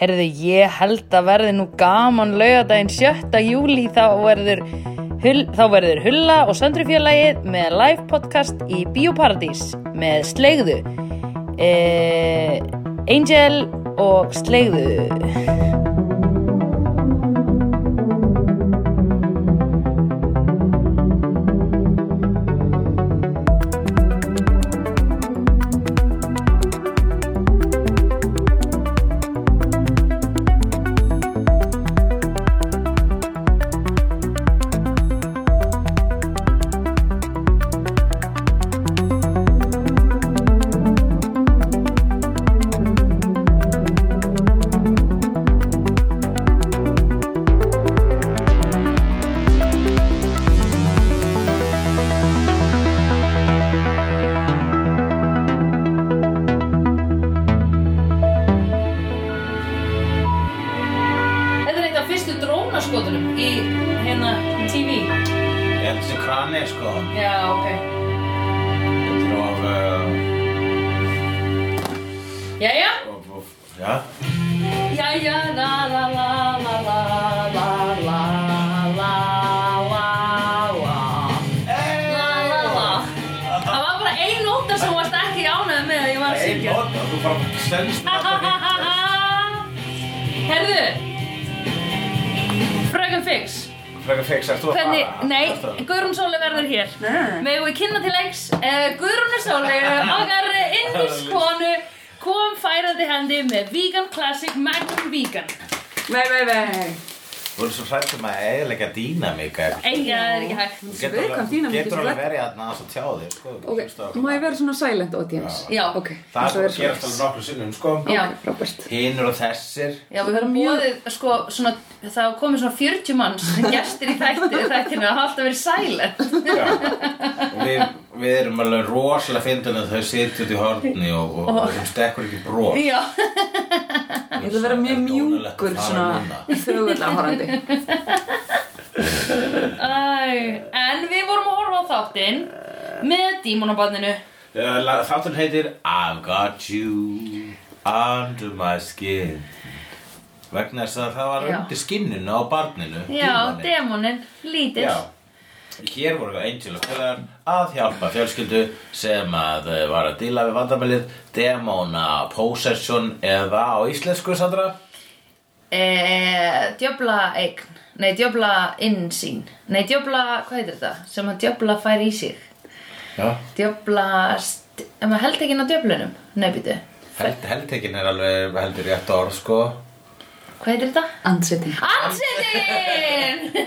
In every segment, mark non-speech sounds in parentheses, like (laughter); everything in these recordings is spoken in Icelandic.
Herði, ég held að verði nú gaman laugardaginn 7. júli þá verður, hull, þá verður Hulla og Söndrufjörlægið með live podcast í Bíóparadís með Sleigðu, eh, Angel og Sleigðu. Þetta er eitt af fyrstu drónaskotunum í hérna TV. Ég held þessi krani sko Já, ok. Þetta er of, uh, Jæja? of, of Já Jæja, la la la la la la la la la la. La, la, la. Það var bara ein nóta sem þú varst ekki ánægð með að ég var að Ein syngja. nota, þú bara selst þetta (laughs) vitlaust. Herðu, Fröken Fix, Frekar fix, erst þú að hvernig, fara? nei, Ertu að- Guðrún Sóli verður hér. Megum við kynna til leiks, uh, Guðrún Sóli, okkar indiskonu, kom færandi hendi með Vegan Classic Magnum Vegan. Nei, nei, nei. Þú erum svo hrættum að eiginlega dýna mig Eiga, það er ekki hægt. Svo viðkvæm dýna mikið Getur svo alveg glætt. verið hérna aðeins að tjá þér sko, þú Ok, hlustað á okkur. má ég vera svona silent audience? Já. Ok, Það er búið svo er að gerast alveg svona. nokkru sinnum sko Já. Ok, Robert. Hinnur og þessir Já, við höfum Mjög- bóðið, sko, svona, það hafa komið svona 40 manns (laughs) gestir í þætti, þættinu, það hafa alltaf verið silent. Já. Og (laughs) við, við erum alveg rosalega fyndin að þau sitja út í horni og, og, og þeim stekkur ekki bróð Já, Ég ætla að vera mjög mjúkur svona þögulega horfandi. Æ, en við vorum að horfa á þáttinn með dímonabanninu. Uh, Þáttur heitir I've got you under my skin vegna þess að það var Já. undir skinninu á barninu Já, dímanni. demonin, lítill. Já. Hér voru Angel og Pillar að hjálpa fjölskyldu sem að eh, var að díla við vandamælið demona possession eða á íslensku Sandra E, djöfla eign, nei, djöfla innsýn, nei, djöfla, hvað heitir þetta? Sem að djöfla fær í sig. Já. Djöfla, st- en maður held ekki inn á djöflunum, nei, býtu. Held, heldtekin er alveg heldur rétt orð sko Hvað heitir þetta? Andsetting. Ansettin!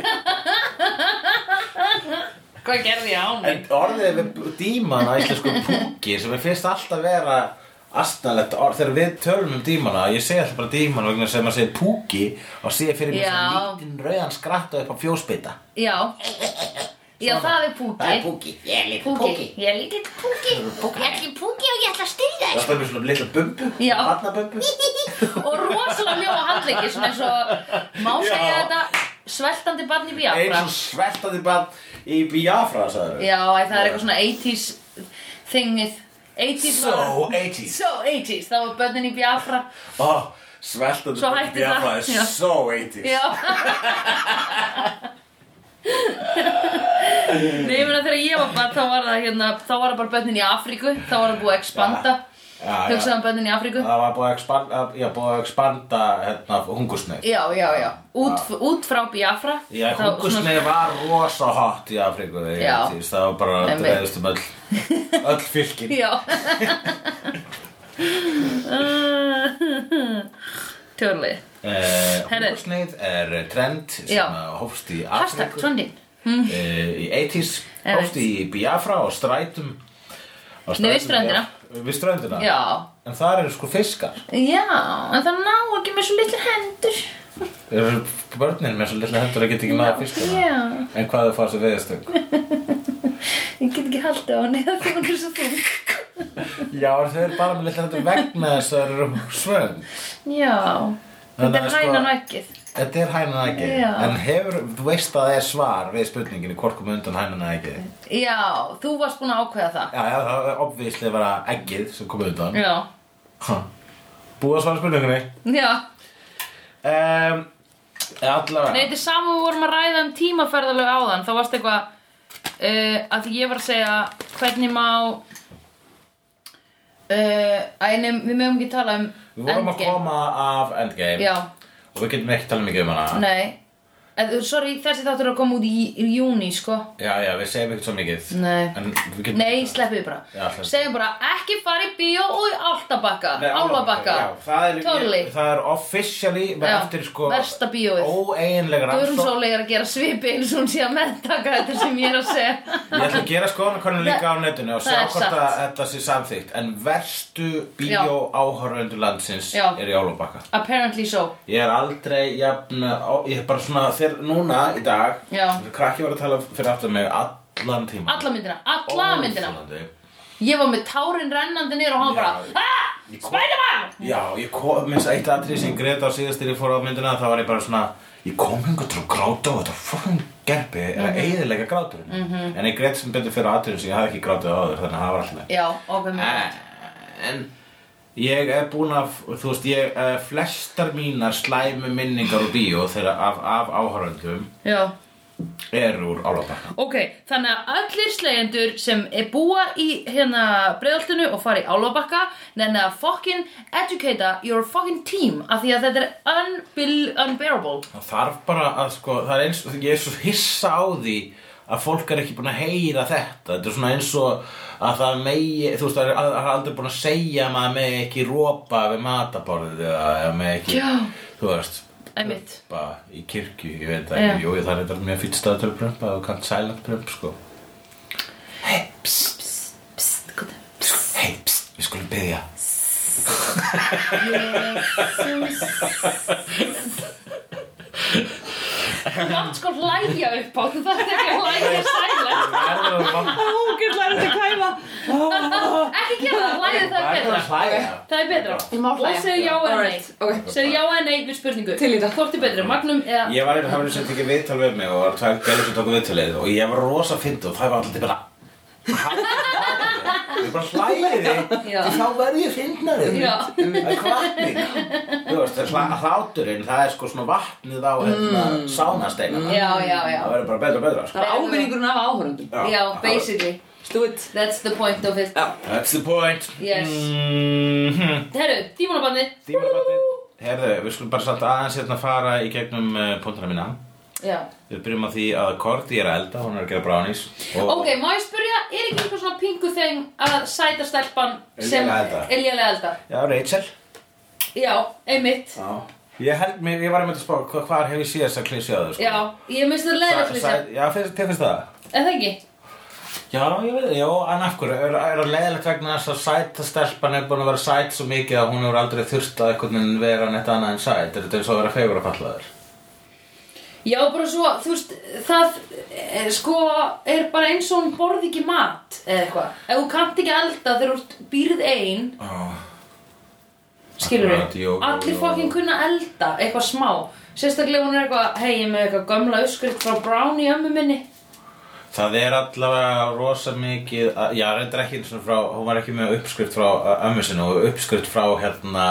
Hvað gerði ég á En mig? orðið við díman á íslensku púki sem er fyrst alltaf vera astnalegt orð þegar við tölum um dímana ég segi alltaf bara díman vegna sem maður segir púki og sé fyrir mér Já. svona lítinn rauðan skratta upp á fjósbytta Já, já, það er púki. Það er púki, ég er líka púki Ég er lítill púki. Ég er ekki púki og ég ætla að styrja Það er með svona litla bumbu, Já. (laughs) barnabumbu þér. Og rosalega mjóa handleggi, svona eins og má segja Já. þetta sveltandi barn í eins Biafra. og sveltaði barn í Biafra sagður Já, æ, það er eitthvað svona 80s thingið. 80s So var... 80s So 80s, það var börnin í Biafra. oh, Sveltaði Svo barn í hætti Biafra það, er ah, já. so 80s Já. Nei, ég meina þegar ég var bara, þá var það hérna, þá var það bara börnin í Afríku, þá var það búið að expanda. Já, já. Hugsaðan börnin í Afríku. Það var búið að expanda, já, búið að expanda hérna, hungursneið Já, já, já. Út, út frá Biafra. Já, Þá- svona- hungursnei var rosa hot í Afríku þegar Já. ég tíst, það var bara að Einmitt. dreðist um öll, (laughs) öll fylkin. (laughs) Já. Tjórlið. Uh, Herri. hungursneið er trend sem Já. að hófst í Hashtag Afríku, trending. uh, í 80s, Einmitt. hófst í Biafra og strætum. á Nei, við strætum ströndina. Biaf- Við ströndina? Já. En þar eru sko fiskar. Já, en það ná ekki með svo litlir hendur. Eru börnin með svo lilla hendur að geta ekki náða fiskana? Já, En hvað þau fá þessu veðistöng? (laughs) ég get ekki haldið á henni það þegar hún er svo þung. (laughs) Já, en þau eru bara með lilla hendur vegna þess að þau eru svöng. Já, þetta Þannig er að sko- hænan og ekkið. Þetta er hænan ekki, Já. en hefur, þú veist að það er svar við spurninginni hvort kom undan hænan ekki. Já, þú varst búin að ákveða það. Já, já, það er obvíslega bara eggið sem kom undan. Já, Ha. Búið að svara spurninginni? já. um, Allavega Nei, þetta er saman við vorum að ræða um tímaferðalög áðan Þá varst eitthvað uh, að ég var að segja hvernig má uh, Æ, nei, við mögum ekki tala um Við vorum að Endgame. koma af Endgame Já, og við getum ekki tala mikið um hana nei Eð, Sorry, þessi þáttur er að koma út í, í júni, sko Já, já, við segjum ekkert svo mikið Nei. En við getum Nei, sleppið bara Já, sleppum. Segjum bara, ekki fara í bíó og í Álftabakka Nei, Álfabakka Já, það er, Totally. ég, það er officially Já, eftir sko versta bíóið. Óeiginleg Guðrún rannsókn Sóley er að gera svipi eins og hún sé að meðtaka þetta sem ég er að segja Ég ætla að gera skoðanakönnun líka á netinu og Það sjá er hvort satt. að þetta sé samþykkt En verstu bíó áhörvendur landsins Já. er í Álubakka Apparently so Ég er aldrei jafn, á- ég er bara svona þegar núna í dag Já. Krakki var að tala fyrir aftur mig allan tíma Alla myndina, alla myndina Óþolandi. Ég var með tárin rennandi niður og hann Já. bara "Ah, Ég kom- Spiderman! Já, ég kom, minnst eitt atrið sem greit á síðast þegar ég fór á myndina þá var ég bara svona Ég kom hengur til að gráta og þetta fucking gerpi er Mhm. að eigðilega gráturinn -hmm. En ég greit sem betur fyrir atriðum sem ég hafði ekki grátið áður þannig að það var alltaf Já, ok, Eh. mér En ég er búinn að, þú veist, ég, uh, flestar mínar slæmi minningar úr bíó þegar af, af áhöröndum Já eru úr álabakka Ok, þannig að allir slegjendur sem er búa í hérna breyðaltinu og fara í álfabakka nefnir að fucking educate your fucking team af því að þetta er unbil, unbearable Það þarf bara að, sko, það er eins, ég er svo hissa á því að fólk er ekki búin að heyra þetta Þetta er svona eins og að það megi, þú veist, það er, að, það er aldrei búin að segja að maður megi ekki rópa við mataborðið eða eða megi ekki, Já. þú veist Einmitt. prumpa í kirkju, ég veit það ekki, Já. jú, það er þetta mjög fýtt stað til að prumpa, þú kannt silent prump, sko Psst, hvað er Hei, pst, við skulum byggja Látt sko hlæja upp á þú þarf ekki að hlæja sælega Ógjöld er þetta kæfa Ekki gera það, hlæja það er betra Það er betra Ég má hlæja. Og segja já eða nei Alright, ok. Segja já eða nei við spurningu Til í þetta. Hvort er betra, Magnum eða Ég var einhvern veginn sem tekið viðtal við mig og var tvær gælur sem tóku viðtalið og ég var rosa fyndi og það var alltaf bara Ég bara hlæði þig Já. því þá verð ég fyndnari Já. Það er kvartning Þú veist, það er hla- hláturinn, það er sko svona vatnið á hérna sánasteinana Mm. Já, já, já Það verður bara betra og betra sko. Það er ávinningurinn af áhörundum Já, basically Stúið That's the point of it Já That's the point Yes. mm -hmm. Herru, tímanabandi Tímabatið Herðu, við skulum bara samt aðeins hérna fara í gegnum uh, punktana mína Já Við byrjum á því að Korti er að elda, hún er að gera brownies og- Ok, má ég spyrja, er ekki eitthvað svona pingu þeng að sæta stelpan Er sem lélega elda. er lélega elda? Já, Rachel Já, einmitt Já. Ég held mér, ég var einmitt að spá hvað, hvað hef ég síðast að klísja það, sko. Já, ég minnst það Sa- leiðilegt sa- Lísa. Já, finnst, þér finnst það? Er það ekki? Já, ég veit, já, en af hverju, er, er það leiðilegt vegna þess að sæta stelpan er búin að vera sæt svo mikið að hún hefur aldrei þurft að einhvern veginn vera neitt annað en sæt, er þetta eins og að vera fegur að falla þér? Já, bara svo, þú veist, það er, sko er bara eins og hún borði ekki mat eða eitthvað. Ef þú kannt ekki elda þegar þú ert býrð ein, skilur Akkurat, við, jú, jú, allir jú. fokkin kunna elda eitthvað smá. Sérstaklega hún er eitthvað, hei, ég er með eitthvað gömla öskrikt frá Brownie ömmu minni. Það er allavega rosa mikið, að- já, reyndar ekki eins og frá, hún var ekki með uppskrift frá uh, ömmu sinni og uppskrift frá hérna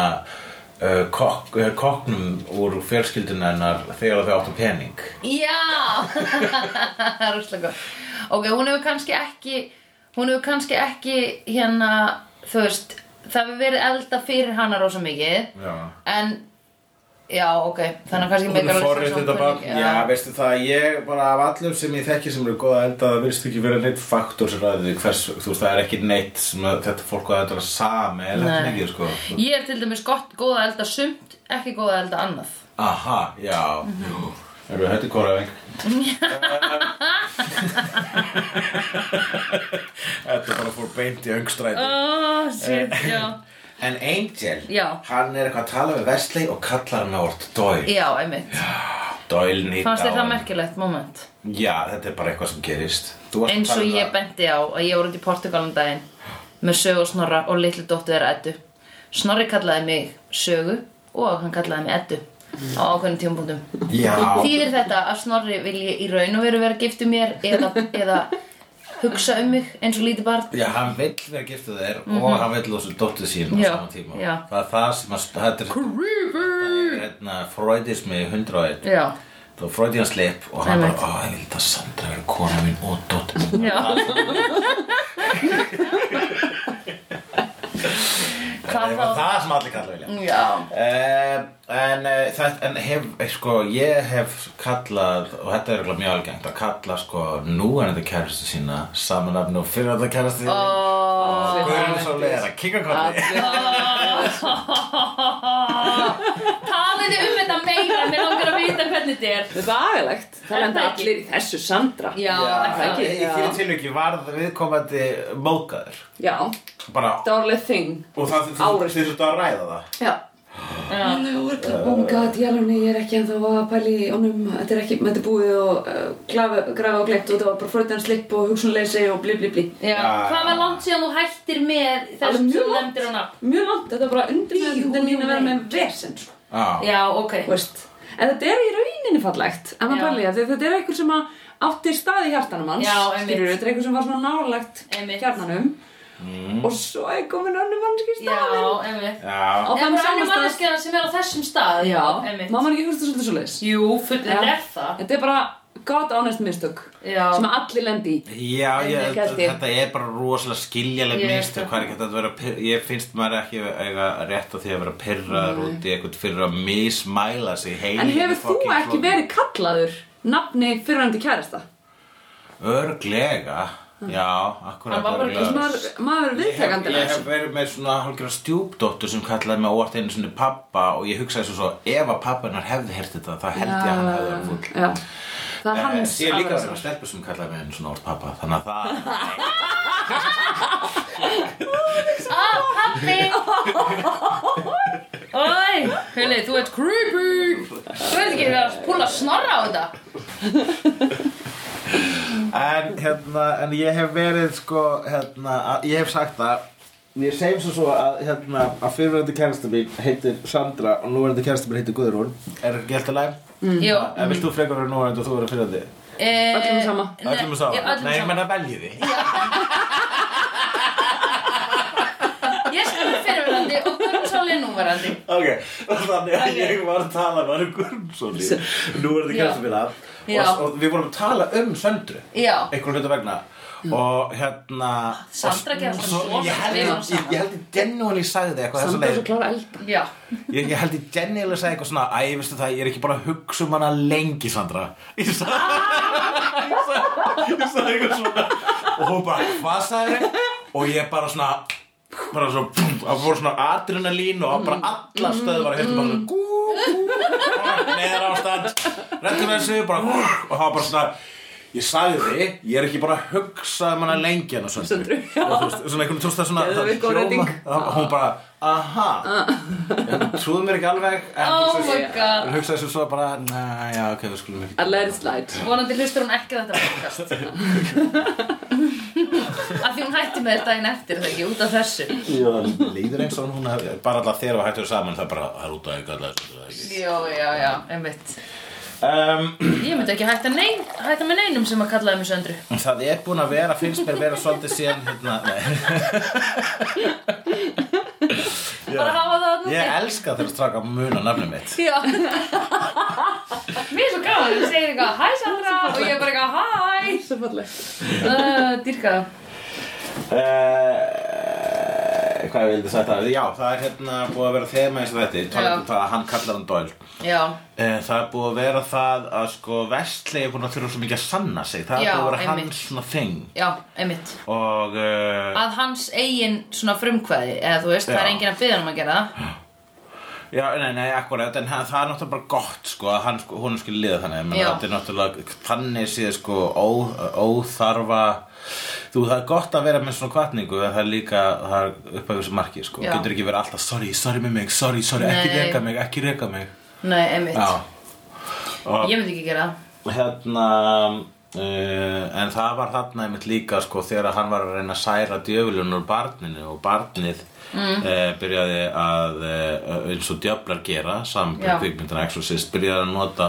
uh, kok, uh, koknum úr fjölskyldunni hennar þegar þau áttu pening. Já, (laughs) rústlega góð. Ok, hún hefur kannski ekki, hún hefur kannski ekki hérna, þú veist, það hefur verið elda fyrir hana rosa mikið. Já. En, já, ok, þannig að kannski Hún meikar er alveg forrið sens að þetta hún barn kunni- Já, veistu það, ég bara af allum sem ég þekki sem eru góða elda það virðist ekki vera neitt faktor sem ræði því hvers, þú veist, það er ekki neitt sem að þetta fólk að þetta er sami eða Nei. þetta mikið, sko Ég er til dæmis gott, góða að elda sumt, ekki góða að elda annað. Aha, já Jú. Erum við hætti kóraðing? (laughs) Þetta bara fór beint í öngstræti Oh, shit, Eh. já. En Angel, Uh. Já. hann er eitthvað að tala við Vestley og kallar hann á orð Doyle Já, einmitt. Doyle nýtt Fannst þér það merkilegt moment? Já, þetta er bara eitthvað sem gerist Þú varst að Eins tala og um ég það. benti á að ég voru út í Portugalum daginn með sögu og snorra og litlu dóttu þeirra Eddu. Snorri kallaði mig sögu og hann kallaði mig Eddu á ákveðnum tímapunktum. Já Þýðir þetta að Snorri vilji í raun og veru vera giftu mér eða, eða hugsa um mig eins og lítið barn? Já, hann vill vera giftið þér og hann vill losa dóttu sín á Mhm. Já, saman tíma já. Það er það sem að þetta er Creepy! hérna, hérna freudismi 101 Já, Það var Freudian slip og hann Einmitt. bara, ó, ég vildi að Sandra verið kona mín og dóttir mín. já (laughs) Hvað Það var þá? það sem allir kallar vilja. Já, (laughs) Uh, en, uh, það, en hef, eh, sko, ég hef kallað, og þetta er örugglega mjög algengt, að kalla sko núverandi kæristu sína samanafni og fyrirandi kæristu sína. Ó. og Guðrún svo leira, kinga kolli. Talaðu um þetta meira, mér langar að vita hvernig þetta er. Það er agalegt. Er Það lenda það ekki? allir í þessu Sandra. Já, Já, já, ekki. í því tilviki varð viðkomandi mókaður. Já. Bara, Það var alveg þing. og það Áreist. þið þurftu að ræða það. Já. Oh my god, ég alveg, ég er ekki ennþá að pæli í honum, þetta er ekki, þetta er búið og uh, glafa, grafa og glemt og það var bara fröðan slipp og hugsunleysi og blí blí blí. já. Hvað var langt síðan þú hættir með Alveg þessum mjög sem þú langt. nefndir á nafn? Mjög langt, þetta er bara undirmeðundin mín að vera með vesen, sko. Já. Já, ok. Þú veist. En þetta er í rauninni fallegt, en það Já. pæli ég, því þetta er einhver sem að átti stað í hjartanum hans, Já, einmitt. skilurðu, þetta er einhver sem var svona nálægt Einmitt. hjartanum Mm. og svo er komin önnur mannski í Já, staðinn. einmitt. Já. Á Það er þann bara sama henni stað- manneskjana sem er á þessum stað. Já, einmitt. má maður ekki hugsa svolítið svo leis. Jú, full, þetta Já. er það. Þetta er bara gott ánæst mistök Já. sem allir lendi í. Já, En ég, ekki held ég. þetta er bara rosalega skiljaleg Ég mistu veit hvað er ekki þetta að vera pyrr- ég finnst maður ekki eiga rétt á því að vera pyrraður út í eitthvað fyrir að mismæla sig heil En hefur þú ekki verið kallaður nafni fyrrandi kærasta? Örglega, já, akkurat Hann var bara ekki örugglega. Maður, maður er viðtekandilega Ég hef þessu. verið með svona hálfgjörða stjúpdóttur sem kallaði mig óvart einu sinni pappa og ég hugsaði svo svo ef að pappanar hefði hert þetta þá held ég að hann hefði verið fúll Já, það er Eh, hans Ég er líka aðra verið með svar. stelpur sem kallaði mig einu svona óvart pappa þannig að það Á, pappi! Oi, Hulli, þú ert creepy! Þú veit ekki, við erum að púla snorra á þetta. En hérna, en ég hef verið sko, hérna, að- ég hef sagt það Ég segjum svo svo að, hérna, að fyrirverandi kærasta mín heitir Sandra og núverandi kærasta mín heitir Guðrún Er ekki alltaf læg? Mm. Jú. En vilt þú frekar vera núverandi og þú vera fyrirverandi? Öllum Mm. Öllum sama. Öllum er Nei, sáð öllum Nei, ég sama. menna veljið því Ég skal fyrirverandi og Guðmundsson er núverandi. (laughs) Ok, þannig að ég var að tala um með hann Guðrúnsson Núverandi Já. kærasta mín af Já. og, og við vorum að tala um Söndru Já. Einhvern hlutu vegna Og hérna Sandra og- kærastan svo- mín. Ég held Við vorum ég- ég- ég held ég genuinely sagði eitthvað þessa Samt er leið. svo klára elda. Já. Ég, ég held ég Jenny að segja eitthvað svona Æ, veistu það, ég er ekki bara að hugsa um hana lengi, Sandra Ég sagði (laughs) Ég sagði ég sagði eitthvað svona Og hún bara, hvað sagði þið? Og ég bara svona Bara svona, pum, það voru svona adrenalín Og bara alla stöðu var hérna bara svona Gú, gú, gú Neðar ástand, rettum þessu bara, gú, Og það var bara svona Ég sagði þið, ég er ekki bara að hugsa um hana lengi en á söndru Söndru, já. Og þú veist, svona einhvern tósta svona það Geðveik orðending. hljóma- og hún bara, aha en trúðu mér ekki alveg en Oh hugsaði- my god. en hugsaði sem svo bara, næ, já, ok, við skulum ekki I let it slide. Vonandi hlustur hún ekki að þetta (laughs) podcast. Af því hún hætti með þetta daginn eftir, er það ekki, út af þessu. Já, líður eins og hún hef, bara alltaf þegar við hættum saman það er bara, það er út af ykkur Já, já, já, einmitt. um, Ég myndi ekki hætta, nein, hætta með neinum sem að kallaði mig söndru. það er búin að vera, finnst mér vera svolítið síðan (laughs) hérna, nei, Bara hafa það að ég elska þegar stráka muna nafnum mitt Já. (laughs) Mér er svo gaman, þú segir eitthvað, hæ Sandra, og ég er bara eitthvað, (laughs) hæ. Svo fallegt. Uh, dýrka það. uh, Eh, hvað ég vildi sagt það já, það er hérna búið að vera þema eins og þetta, Já. það að hann kallar hann Doyle Já, Eh, Það er búið að vera það að sko Vestley er búin að þurfa svo mikið að sanna sig Það Já, er búið að vera einmitt. hans svona þing já, einmitt. Og uh, að hans eigin svona frumkvæði eða þú veist, það er Já. enginn að byggja hann um að gera það Já, nei, nei, akkurat En hann, það er náttúrulega bara gott sko að hann, sko, hún skil liða þannig menn Já. þetta er náttúrulega þannig séð sko ó, óþarfa Þú, það er gott að vera með svona kvartningu En það er líka, það er upphæfur sem marki sko Já. Getur ekki verið alltaf, sorry, sorry með mig, sorry, sorry Ekki Nei. reka mig, ekki reka mig Nei, einmitt, Já ég myndi ekki gera það hérna uh, en það var þarna einmitt líka sko þegar hann var að reyna að særa djöfulun úr barninu og barnið mm. byrjaði að uh, eins og djöflar gera saman Já. með kvikmyndina Exorcist byrjaði að nota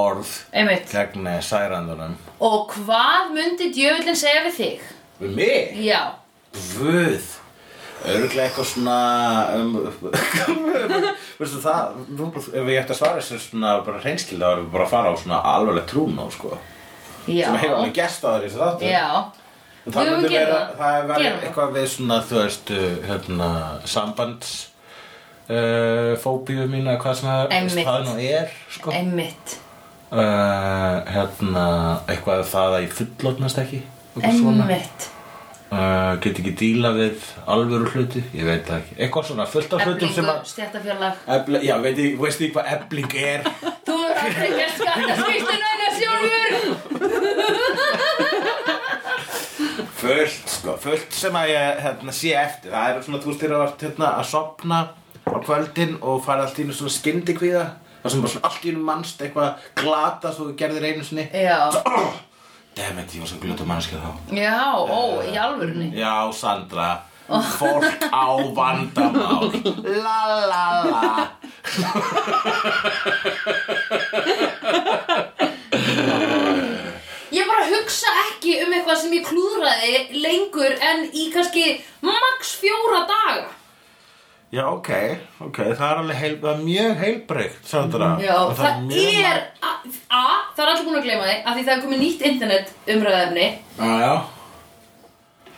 orð Einmitt, gegn eh, særandunum og hvað myndi djöfullin segja við þig? Við mig? Já, um, Guð Örglega eitthvað svona um, (laughs) veistu það, nú, ef ég ætti að svara þessu svona bara reynskilda þá erum við bara að fara á svona alveglega trúna sko Já, sem hefur alveg gest á þér í þessu þáttu já, En það Jú, myndi gerum vera, það. það verður Gerum það. eitthvað við svona, þú veist, uh, hérna, sambands uh, fóbíu mín eða hvað sem það, Einmitt. það nú er, sko. einmitt Uh, hérna, eitthvað það að ég fullotnast ekki, eitthvað svona. Einmitt Uh, get ekki díla við alvöru hluti, ég veit það ekki. Eitthvað svona fullt af hlutum sem Eflingu, að... stjættafjörlag Ebli, já, veit ég, veist ég hvað ebling er? Þú hefur aldrei gert skattaskýstun að þessi sjálfur fullt, sko, fullt sem að ég hérna, sé eftir, það er svona þú veist þegar það vart hérna, að sopna á kvöldin og fara allt í einu svona skyndi kvíða það sem bara svona allt í einu mannst eitthvað glata svo þú gerðir einu sinni Já, Dammit, ég var svo glötu mannskja þá já, ó, í alvörunni Já, Sandra, fólk á vandamál La la la Ég bara hugsa ekki um eitthvað sem ég klúðraði lengur en í kannski max fjóra daga Já, ok, ok, það er alveg heil, það er mjög heilbreykt, Sandra Já, Og það, mjög er a, a, það er allir búin að gleyma því af því það er komið nýtt internet umræðefni Já, já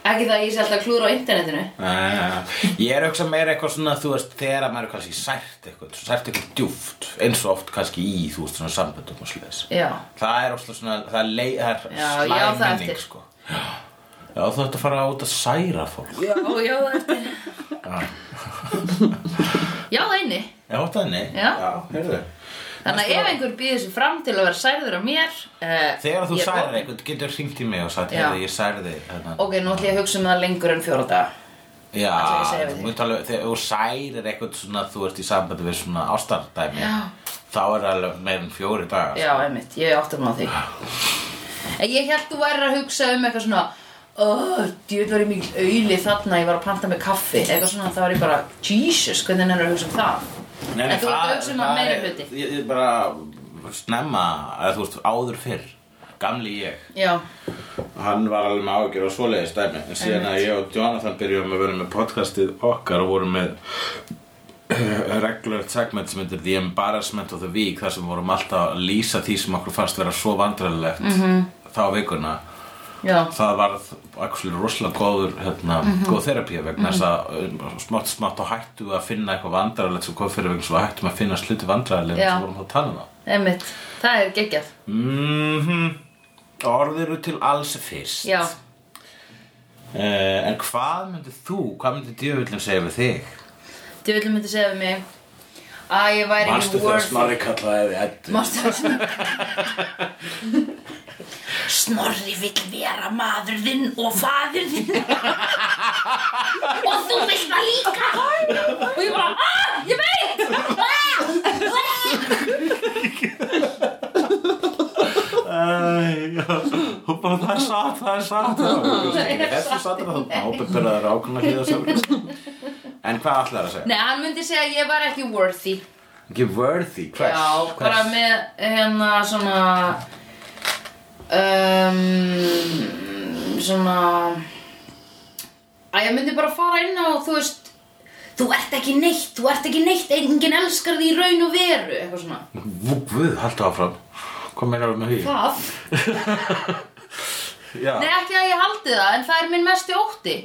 ekki það að ég sé alltaf að klúðra á internetinu Ah, ég er auðvitað meira eitthvað svona þú veist þegar maður er kannski sært eitthvað sært eitthvað djúft eins og oft kannski í þú veist svona samböndum og sliðis Já, það er óslega svona það er, lei, það Já, er ég á slæm það minning eftir. sko já, já þú ætti að fara út að særa fólk já, já, það er eftir Já, það inni já átt að nei Já. já heyrðu Þannig að ef einhver býður sér fram til að vera særður á mér uh, þegar þú særir eitthvað getur hringt í mig og sagt Já. heyrðu ég særði hérna. Ok, nú ætlum ég að hugsa um það lengur en fjóra daga já Ætli ég segi við þú þig. munt alveg þegar þú særir eitthvað svona þú ert í samböndu við svona ástardæmi Já. þá er það alveg meir en fjóri dagar Já, einmitt, ég áttum á því Ah. En ég held þú værir að hugsa um eitthvað svona Oh, djöð var ég mikil auðli þarna ég var að panta með kaffi eitthvað svona þá var ég bara Jesus, hvernig er að hugsa um það Nei, En þú ert að hugsa um að meiri hluti. Ég, ég bara snemma, eða þú veist, áður fyrr Gamli ég Já, Hann var alveg með ágjör og svoleiðis dæmi En síðan að ég og Jonathan byrjuðum að vera með podcastið okkar og vorum með (clears throat) regular segment sem heitir The Embarrassment of the Week þar sem vorum alltaf að lýsa því sem okkur fannst vera svo vandræðilegt Mhm. þá vikuna já, það var actually rosalega góður hérna, góð therapía vegna þess að um, smátt smátt og hættu við að finna eitthvað vandræðilegt sem kom fyrir vegna svo hættum að finna sluti vandræðilegt Já. sem vorum að tala um það einmitt Það er geggjað, mm orðið eru til alls fyrst já Eh, en hvað myndir þú, hvað myndir djöfullin segja við þig? Djöðlum myndi segja við mig að ég væri ekki worth kallaði þið eddu Manstu þegar Snorri Snorri vill vera maður þinn og faður þinn og þú vill það líka og ég bara, aah, ég veit Ah, ah." og bara það er satt, það er satt þessu satt er það ábyrðar ákvæmna hliða sjálf en hvað ætlar það að segja? Nei, hann myndi segja að ég var ekki worthy ekki worthy, hvers? Já, Hvers? bara með hérna svona um, svona að ég myndi bara fara inn á þú veist þú ert ekki neitt, þú ert ekki neitt enginn elskar því í raun og veru eitthvað svona Vú, Guð, haldu áfram Hvað meinar við með því? Það? Já, Nei, ekki að ég haldi það, en það er minn mesti ótti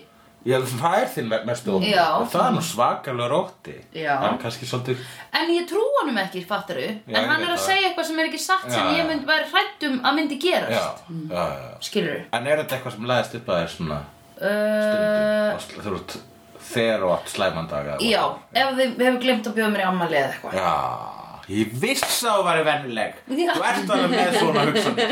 Já það er þinn me- mestu ótti Já. Það er nú svakalur ótti Já. En kannski svolítið En ég trú honum ekki, fattaru Já, ég En hann veit er að það. segja eitthvað sem er ekki satt sem Já, já. ég myndi væri hrætt um að myndi Já, gerast já, já Skilurðu? En er þetta eitthvað sem læðist upp að þér svona Uh, stundum? Þú veist, þegar og átt slæmandaga já, ef þið hefur glemt að bjóða mér í ammali eða eitthvað Já Ég viss að þú væri vennuleg Já. Þú ert alveg með svona hugsanir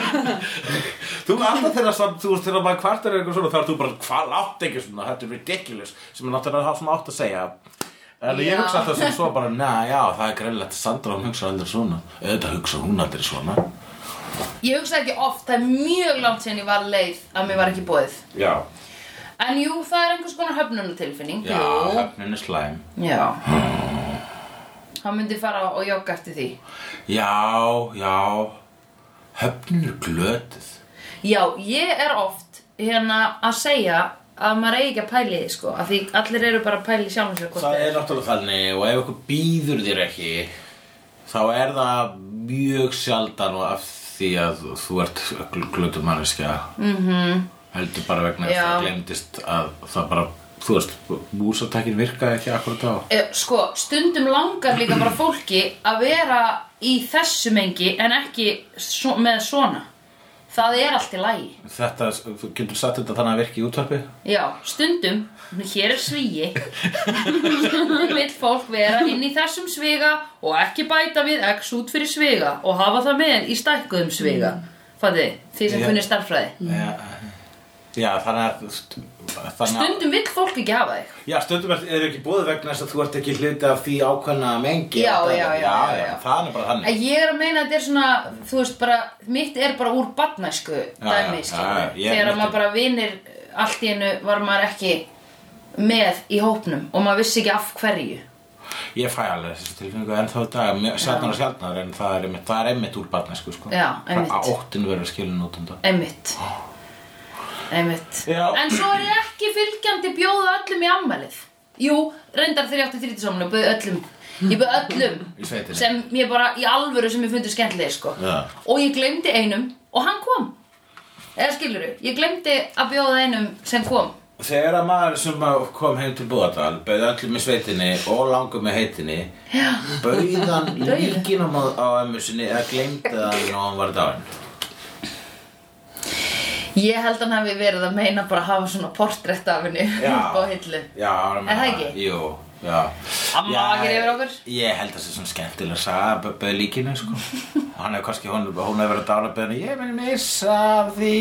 Þú er alltaf þegar samt, þú veist, þegar maður kvartar er eitthvað svona þá er þú bara, hvað látt ekki svona, þetta er ridiculous sem er náttúrulega það sem átt að segja en Já. ég hugsa alltaf sem svo bara, neða, já, það er greinlegt að Sandra hún hugsa aldrei svona auðvitað hugsa hún aldrei svona Ég hugsa ekki oft, það er mjög langt síðan ég var leið að mér var ekki bóðið Já, En jú, það er einhvers konar höfnunatilfinning já, jú. höfnin er slæm já Hann myndi fara og jogga eftir því Já, já Höfnin er glötuð Já, ég er oft hérna að segja að maður eigi ekki að pæli því sko af því allir eru bara að pæli sjálfum sér hvort Það þeir- er náttúrulega þannig og ef ykkur býður þér ekki þá er það mjög sjaldan og af því að þú ert glutum manneskja mm -hmm. heldur bara vegna þess Mhm. að Já. það glemdist að það bara, þú veist, músatækin virkaði ekki akkurat á Eh, sko, stundum langar líka bara fólki að vera í þessu mengi en ekki svo, með svona það er allt í lagi Þetta, þú getur satt þetta þannig að virki í útvarpi Já, stundum, hér er svíi Stundum vill fólk vera inn í þessum sviga og ekki bæta við x út fyrir sviga og hafa það með í stækkuðum sviga Fatið, þið, þið sem Já. kunni starffræði Já, já þannig að st- þannig að Stundum vill fólk ekki hafa þig Já, stundum er, er ekki búið vegna þess að þú ert ekki hluti af því ákveðna mengi Já, Þetta- já, já, já, já, já. Það er bara þannig En Ég er að meina að þetta er svona, þú veist bara, mitt er bara úr barnæsku dæmi, já, skilur já, ég- Þegar maður bara vinir, allt í einu var maður ekki með í hópnum og maður vissi ekki af hverju Ég fæ alveg þessu tilfinningu ennþá í dag, mjög- sjaldnar og sjaldnar en það er einmitt, það er einmitt úr barnesku sko. Já, einmitt. Það óttin verður skilin út um það. Einmitt Einmitt Já. En svo er ég ekki fylgjandi bjóða öllum í ammælið Jú, reyndar þegar ég átti þrítisamlega Bauð öllum Ég bauð (laughs) Í sveitinni. öllum Sem ég bara, í alvöru sem ég fundi skemmtilegir sko Já. Og ég glemdi einum Og hann kom Eða skilur ég glemdi að bjóða einum sem kom Þegar að maður sem að kom heim til Búðardal, bauði öllum í sveitinni og langum með heitinni, (laughs) bauðan líkinum á, á ömmu sinni eða gleymdi það og hann var dáinn. Ég held hann hafi verið að meina bara að hafa svona portrétt af henni (laughs) upp á hillu Já, hann var Er það ekki? Jú, já. Amma Já, vakir yfir okkur? Ég held að það sé svona skemmtilega að saga bauði líkinu sko. (laughs) og hann hefur kannski, hún, hún hefur verið að dána bauðinu, ég minn missa af því.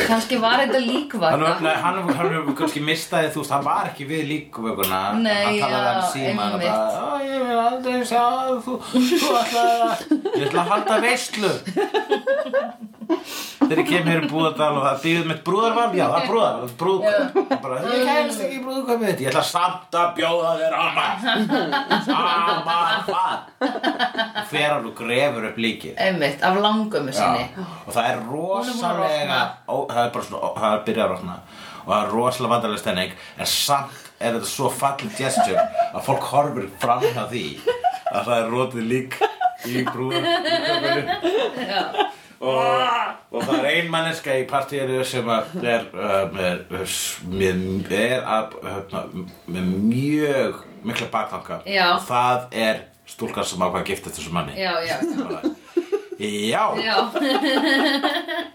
Kannski var þetta Hann líkvaka var, nei, hann, hann var kannski mistaði, þú veist, hann var ekki við líkvökunna Nei, Hann já, talaði um síma og einmitt. bara, "Ó, ég vil aldrei sjá að þú, þú ætlaði að Ég ætla að halda veislu Þegar ég kem hér um Búðardal og það býðið mitt brúðarvarm Já, það er brúðarvarm, brúðköp Bara, ég kemst ekki í brúðköpið þitt Ég ætla samt að bjóða þér amma (laughs) Sama hvað Fer hann og grefur upp líkið Einmitt, af langömmu sinni Já, og það er rosalega rofna. ó, það er bara svona, ó, það er byrjað að rofna og það er rosalega vandalega stemning en samt er þetta svo fallin gesture að fólk horfir fram hjá því að það er rótið lík í brúðum og, og það er ein manneska í partíinu sem að er, um, er, er, er að, hérna, með mjög mikla baktanga Já. og það er stúlkan sem ákvað að gifta þessu manni Já, já, Bara, Já, já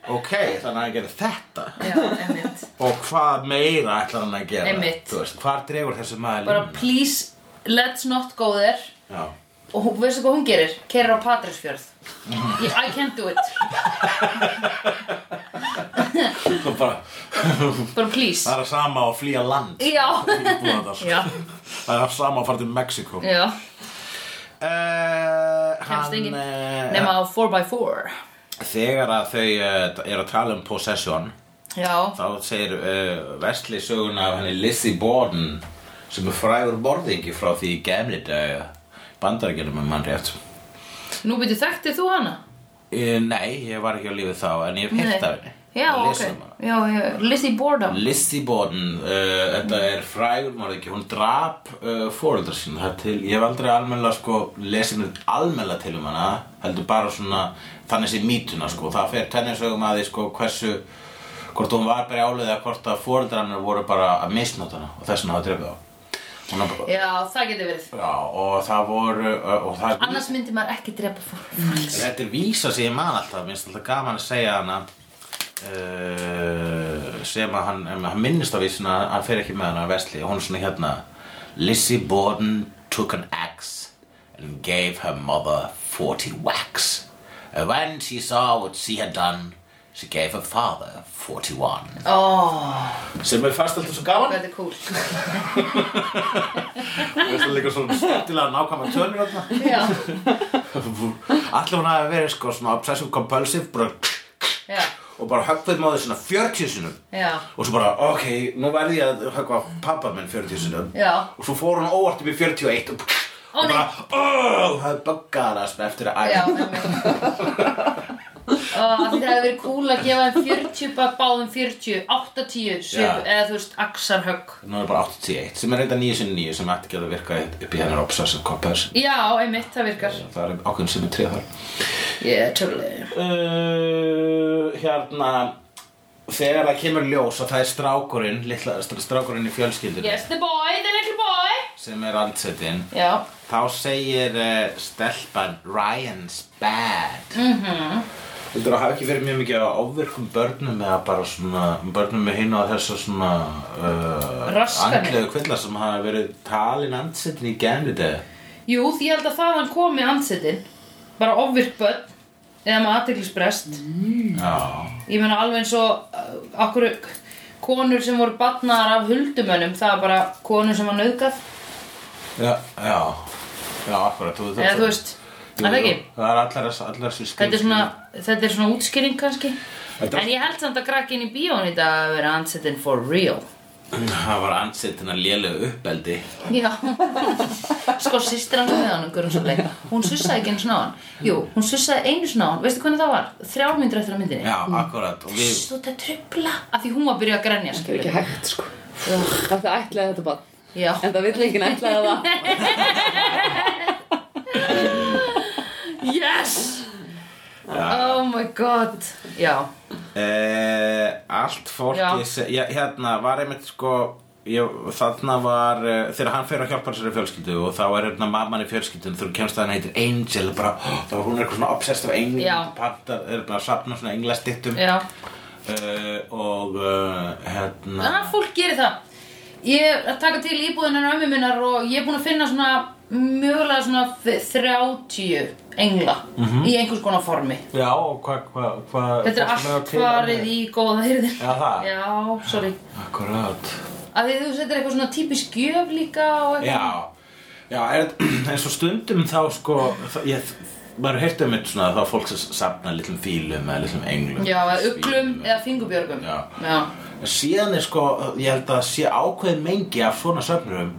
ok, þannig að hann gerir þetta Já, einmitt og hvað meira ætlar hann að gera Einmitt. Þú veist, hvað dregur þessu maður Bara please, let's not go there Já, Og hún, veistu hvað hún gerir? Kerir á (laughs) Patrísfjörð Ég- I can't do it þú bara, Bara please það er sama að flýja land Já, í Búðardal. Já. Það er sama að fara til Mexiko uh, já Kemst Hann enginn. eh, Nema á 4x4 Þegar að þau uh, eru að tala um possession Já, þá segir uh, Vesli söguna af henni Lizzie Borden sem er frægur borðingi frá því í gemli dag bandarækjunum um mann rétt nú byrju þekktið þú hana? Eh, Nei, ég var ekki á lífi þá en ég hef hitt af henni Já, Ég ok les um hana. Já, já, Lizzie Borden Lizzie Borden, uh, þetta er frægur morðingi, hún drap uh, fóreldra sín, það er til, ég hef aldrei almennilega sko, lesið mér almennilega til um hana, heldur bara svona, þannig sé mítuna sko, það fer tennisögum að því sko hversu, hvort hún var brjálið eða hvort að fóreldra hennar voru bara að misnóta hana og þess vegna hafa drefið á. Hún er bara, Já, það getur verið já, og það voru, uh, og það Annars myndi maður ekki drepa fólk Þetta er vísa sem ég man alltaf, mér finnst alltaf gaman að segja hana uh, sem að hann, um, hann minnist á vísuna, hann fer ekki með hana að vesli og hún er svona hérna Lizzie Borden took an axe and gave her mother 40 whacks and when she saw what she had done she gave her father 41 Ó, sem er fast alltaf svo gaman hvað þetta er cool og það er líka svona skemmtilega nákvæma tölur þarna Já, allir hún hafi verið sko svona obsessive compulsive bara já, og bara höggvaði maður svona 40 sinum já og svo bara, ok, nú verði ég að höggva pappa minn 40 sinum Já. og svo fór hún óvart upp í 41 og, Ó, og bara, nei. oh, það er böggar að spef eftir að Já, æfa einmitt og að þetta hefði verið cool að gefa þeim 40 bara báðum 40, 80 svip, Já. eða þú veist, axarhögg Nú er bara 81 sem er reynda 9 sinni 9 sem ætti ekki að virka upp í hennar obsessive compassion já, einmitt, það virkar Það er ákveðin sem er trið þar ég er töflega uh, Hérna Þegar það kemur ljós að það er strákurinn litla, Strákurinn í fjölskyldunni yes, the boy, the little boy Sem er andsetin já, Þá segir uh, stelpan Ryan's bad mm Mhm. -hmm. Heldur að hafa ekki verið mjög mikið á ofvirkum börnum eða bara svona börnum með hinn á þessu svona uh, Raskanir. andlegu kvilla sem hafa verið talin andsetin í genið þetta jú, því ég held að þaðan komi ansettin bara ofvirk börn eða með aðteglisbrest Já, ég meina alveg eins og uh, okkur konur sem voru batnaðar af huldumönnum, það er bara konur sem var nöðgat, já, já, já, akkurat þú, eða þú veist Jú, er það jú, ekki? Það er allar, allar sér skil Þetta er svona, þetta er svona útskýring kannski Þetta- En ég held samt að krakkin í bíón í dag að vera ansettin for real Það var ansettin að lélegu uppeldi Já (laughs) Sko sýstir hann með hann einhverjum svo leik Hún sussaði ekki einu svona á hann Jú, hún sussaði einu svona á hann Veistu hvernig það var? Þrjár myndir eftir að myndinni Já, akkurat Og við Svo þetta trubla Af því hún var að byrja að grenja Það er skilur ekki hægt sko Það er ætlaði þetta bara Já En það vill ekki ætlaði það (laughs) Yes Oh my god Já Eh, allt Já. fólki se- já. hérna var einmitt sko ég, þarna var eh, þegar hann fer að hjálpa þessari fjölskyldu og þá er hérna mamman í fjölskyldun þegar hún kemst að hann heitir Angel bara, (gasps) oh, þá er hún er eitthvað svona obsessed af engl Já. panta, er bara að safna svona englastittum Já uh, og uh, hérna Þannig að fólk gerir það Ég er að taka til íbúðunar ömmu minnar og ég er búin að finna svona mögulega svona þ- 30 engla Mhm. í einhvers konar formi já og hvað hva, hva, Þetta er allt farið í góða hyrðin Já, það? Já, sorry akkurat Af því þú veist, þetta er eitthvað svona típisk gjöf líka og eitthvað Já, já (clears throat) er, eins og stundum þá sko þá, ég, maður heyrti um eitt svona þá fólk sem safna litlum fílum eða litlum englum Já, eða uglum eða fingurbjörgum Já. Já, Síðan er sko, ég held að sé ákveðin mengi af svona safnurum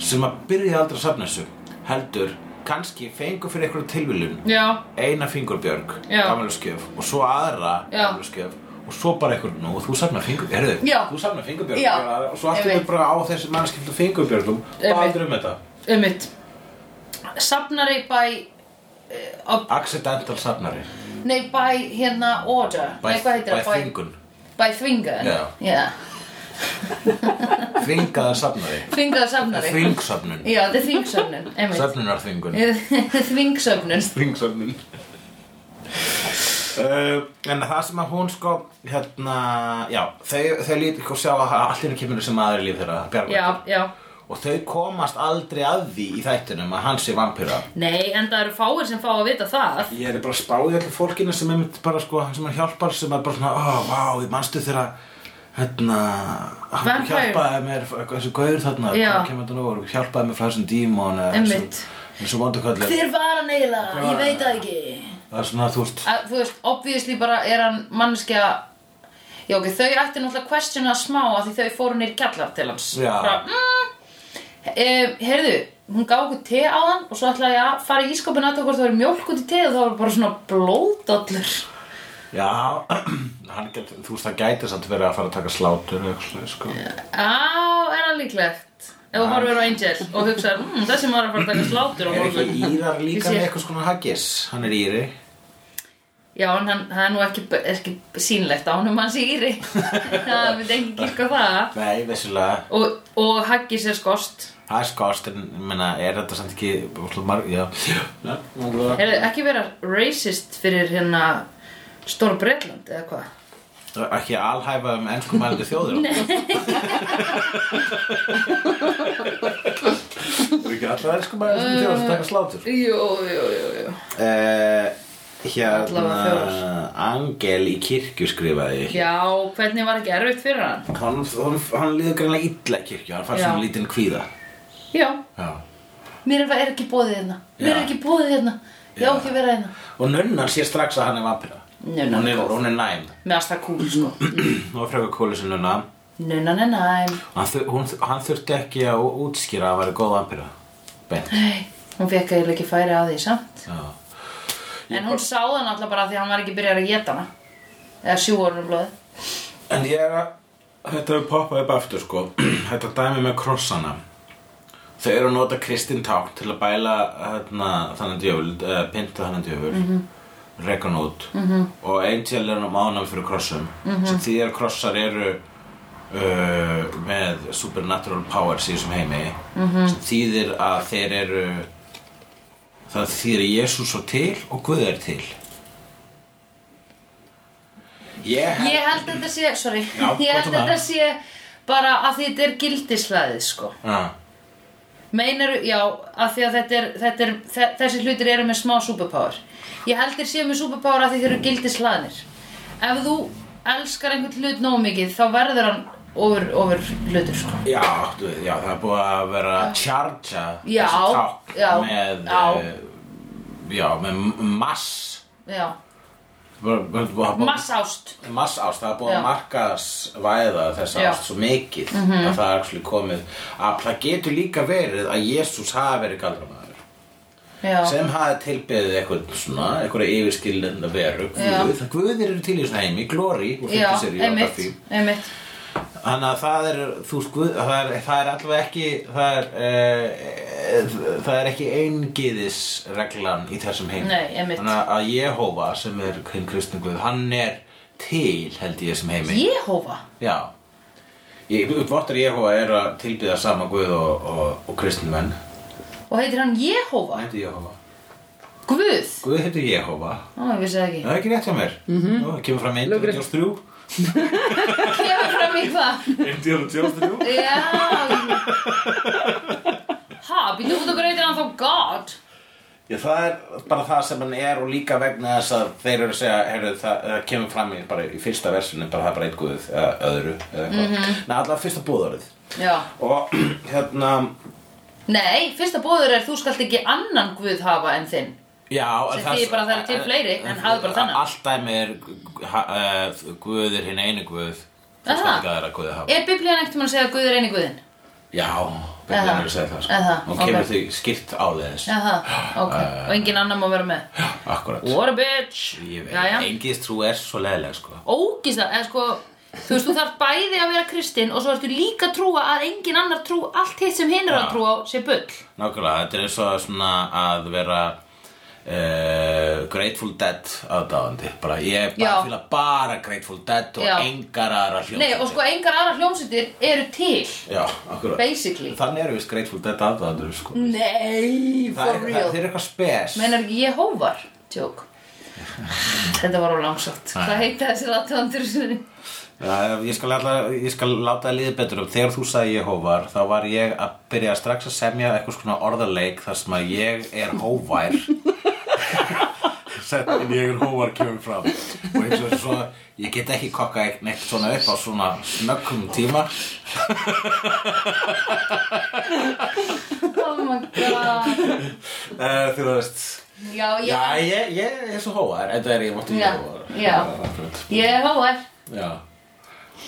sem að byrja aldrei að safna þessu heldur, kannski fengu fyrir einhverju tilviljun já, eina fingurbjörg, Já. gamluskjöf og svo aðra Já. gamluskjöf og svo bara einhver, nú þú safnar fingurbjörg heyrðu, Já. þú safnar fingurbjörg Já. og svo allt Einmitt. er bara á þessi mannskipta fingurbjörgum Einmitt. bara aldrei um þetta ummitt Safnari by eh, Accidental safnari Nei, by hérna order By- Nei, hvað heitir by það? þvingun. By þvingun Já. Þvingaða safnari Þvingaða safnari Þvingsöfnun Já, þetta er þvingsöfnun, (laughs) einmitt. Söfnunarþvingun Þvingsöfnun. (laughs) Þvingsöfnun Uh, en það sem að hún sko hérna, já, þau, þau lít og sjá að allt henni kemur sem aðri líf þeirra Bjargvættur. Já, já. og þau komast aldrei að því í þættunum að hann sé vampýra Nei, en það eru fáir sem fá að vita það. ég er bara að spáði allir fólkinu sem er bara sko, hann sem hann hjálpar sem er bara svona, ó, oh, vá, wow, manstu þeirra hérna, hann Vampire. hjálpaði mér þessi gaur þarna, Já. hvað kemur þetta nú og hjálpaði mér frá þessum dímon eða þessum- Einmitt. þessum vonduköllu Hver var hann eiginlega? Ég veit það ekki. það er svona, þú veist, Að, þú veist, obvíðisli bara er hann mannskja... Já, ok, þau ættu náttúrulega questiona smá að því þau fóru nýr kjallar til hans. Já. Bara, mm, e, heyrðu, hún gaf okkur te á hann og svo ætlaði ég að fara í ískapin að það hvort það verið mjólk út í te og það var bara svona blóðdallur. já (clears throat) hann gæti, þú veist, það gæti samt verið að fara að taka slátur eða eitthvað, svoleiðis, sko Á, er það líklegt Ef þú horfir á Angel og hugsaðar mmm, Þessi maður er að fara að taka slátur á er morgun ekki írar Ég líka sé- með eitthvað skona haggis hann er íri Já, en hann, það er nú ekki, ekki sýnlegt á honum hans í íri (laughs) Það myndi engin kirka það nei, vissulega, Og, og Haggis er skost það er skost en, ég meina, er þetta samt ekki óslega marg, já, já, já. Er ekki vera racist fyrir hérna Stór Bretland eða hvað? ekki alhæfa um ennskumælandi (laughs) þjóðir Nei Það er ekki allar ennskumælandi þjóðir sem taka slátur Jú, jú, jú, jú uh, Hérna Allavega þjóðar. Angel í kirkju skrifaði ég. Já, hvernig var ekki erfitt fyrir hann? Hann, hann, hann líður greinlega illa í kirkju Hann fær Já. svona lítinn kvíða Já, Já. mér er, er ekki bóðið hérna Mér er Já. ekki bóðið hérna Ég á Já. ekki að vera hérna Og nunnan sé strax að hann er vampira Nunnan Hún er er, góð. hún er (clears throat) næm Mér varst það kúl, sko Nú er frekar kóli sem nunna Nunnan er næm Hann, þur, hún, hann þurfti ekki að útskýra að hann væri góð vampira Beint Nei, hún fekk eiginlega ekki færi á því samt. Já. En hún sá það náttúrulega bara af því að hann var ekki byrjar að geta hana. Eða sjúa hann úr blóði. En ég er að, þetta hefur poppað upp aftur sko, (clears throat) þetta dæmi með krossana. Þau eru að nota kristin tákn til að bæla hérna, þannig djöful, uh, pynta þannig djöful, mm -hmm. reka hann út. -hmm. Og Angel er mánam fyrir krossum, sem því að krossar eru uh, með supernatural powers í þessum heimi, -hmm. sem þýðir að þeir eru, það þýðir að Jésús svo til og Guð er til. Ég held Ég held þetta sé, sorry, ég Já, hvað held er það? þetta sé bara að því þetta er gildishlaðið sko. Já, Meinaru, já, af því að þetta er, þetta er, þe- þessi hlutir eru með smá superpower. Ég held þér séu með superpower af því þeir eru gildishlaðnir. Ef þú elskar einhvern hlut nóg mikið þá verður hann ofur, ofur hlutur sko. já, áttu við, já, það er búið að vera að tjarja Já, þessi tákn já, með, já. eh, já, með m- mass, Já, bara- bara- bara- bara- mass ást. mass ást, það er búið Já. að markaðsvæða Já. þessa Mhm. ást svo mikið að það er actually komið, að það getur líka verið að Jésús hafi verið galdramæður Já, sem hafi tilbyðið eitthvað svona, eitthvað yfirskilenda veru, Já. guð, það guðir eru til í þessu heimi, glóri, og já, fyrir sér í einmitt, Otafím. einmitt. Þannig að það er, þú sko, það er, það er allavega ekki, það er, uh, það er ekki eingiðisreglan í þessum heim. Nei, einmitt. Þannig að Jehova sem er hinn kristninguð, hann er til held ég þessum heimi. Jehova? Já. Ég, Vortar Jehova er að tilbyða sama guð og, og, og kristnumenn. Og heitir hann Jehova? Hvað heitir Jehova? Guð? Guð heitir Jehova. Ó, ég vissi það ekki. (laughs) Það er ekki rétt hjá mér. Mm -hmm. Nú, kemur fram einn Mhm. og Lögrétt. djóðs þrjú. Kemur fram í hvað? Einn og djóðs þrjú. Já. Ha, býttu út og greitir hann þá God? Já, það er bara það sem hann er og líka vegna þess að þeir eru að segja, heyrðu, það, það kemur fram í, bara í fyrsta versinu, bara það er bara einn guð eða öðru eða eitthvað. Mhm. Nei, allavega fyrsta búðorðið. Já. Og (clears throat) hérna, Nei, fyrsta bóður er þú skalt ekki annan Guð hafa en þinn. já. en Sem þýðir bara að það eru til fleiri, en hafðu bara þennan. Allt dæmi er, ha- eh, guð er hinn einu guð, Aha. þú skal ekki aðra guði hafa. Er biblían ekkert mann að segja að Guð er eini Guðinn? Já, Aha. byrjum er að segja það, sko. Aha, Hún kemur ok. því skýrt á þess. Jaha, ok. Og engin annar má vera með. Akkurat. What a bitch! Ég veit, Jæja. engist trú er svo leðileg, sko. Ógísla, eða sko, þú veist, þú þarf bæði að vera kristinn og svo ertu líka að trúa að engin annar trú, allt hitt sem hinn er að Já. trúa á sé bull. Nákvæmlega, þetta er eins og svona að vera uh, Grateful Dead aðdáðandi bara, Ég er bara, Já. fíla bara Grateful Dead og Já. engar aðra hljóð Nei, og sko, engar aðra hljómsveitir eru til, Já, akkurat basically. Þannig eru við Grateful Dead aðdáðandur sko. Nei, Mm, það, for er- það, real. það er eitthvað spes Meinar ekki Jehovar, tjók. Þetta var á langsótt. Hvað heita þessi aðtöðandur? Já, ég, skal alla, ég skal láta það liðið betur upp Þegar þú sagði ég hóvar Þá var ég að byrja strax að semja eitthvað svona orðarleik Þar sem að ég er hóvær Settin ég er hóvar kemur fram Og eins og svo Ég get ekki kokka eitt- neitt svona upp á svona snöggum tíma Oh my god. uh, Þú veist Já, Já, já. ég, ég er svo hóvar En það er ég mátti Já, ég hóvar já. Jehovar. Já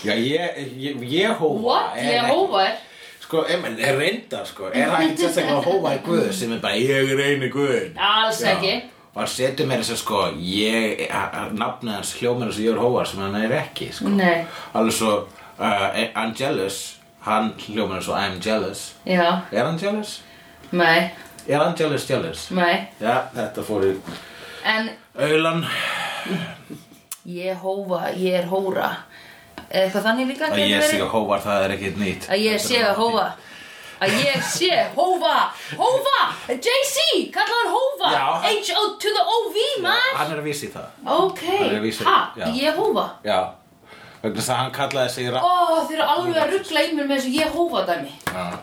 Já, ég, ég, ég hóvar What? Jehovar? Sko, emel, er reyndar, sko, er það ekki sérstaklega að hófa í guð sem er bara ég er einu guðin? Alls Já. ekki. Og hann setur mér þess að, sko, ég, a- a- nafnið hans hljómar þess að ég er hófa sem hann er ekki, sko. Nei. Alveg svo, uh, Angelus, hann hljómar þess að I'm jealous. Já. Er hann jealous? Nei. Er hann jealous jealous? Nei. Já, þetta fór í En aulan. Jehova, ég er hóra. Eða eitthvað þannig líka Að gæti ég sé verið? að hófar, það er ekkert nýtt. Að ég sé að hófa. Að ég sé hófa. Hófa! JC! Kallaður hófa! Já. H-O to the O-V, man! Hann er að vísi það. Ok. er vísari, já. Ha, Jehova. Já. Vegna þess að hann kallaði sig ra- Ó, þeir eru alveg að ruggla í mér með þessu Jehova dæmi. Já.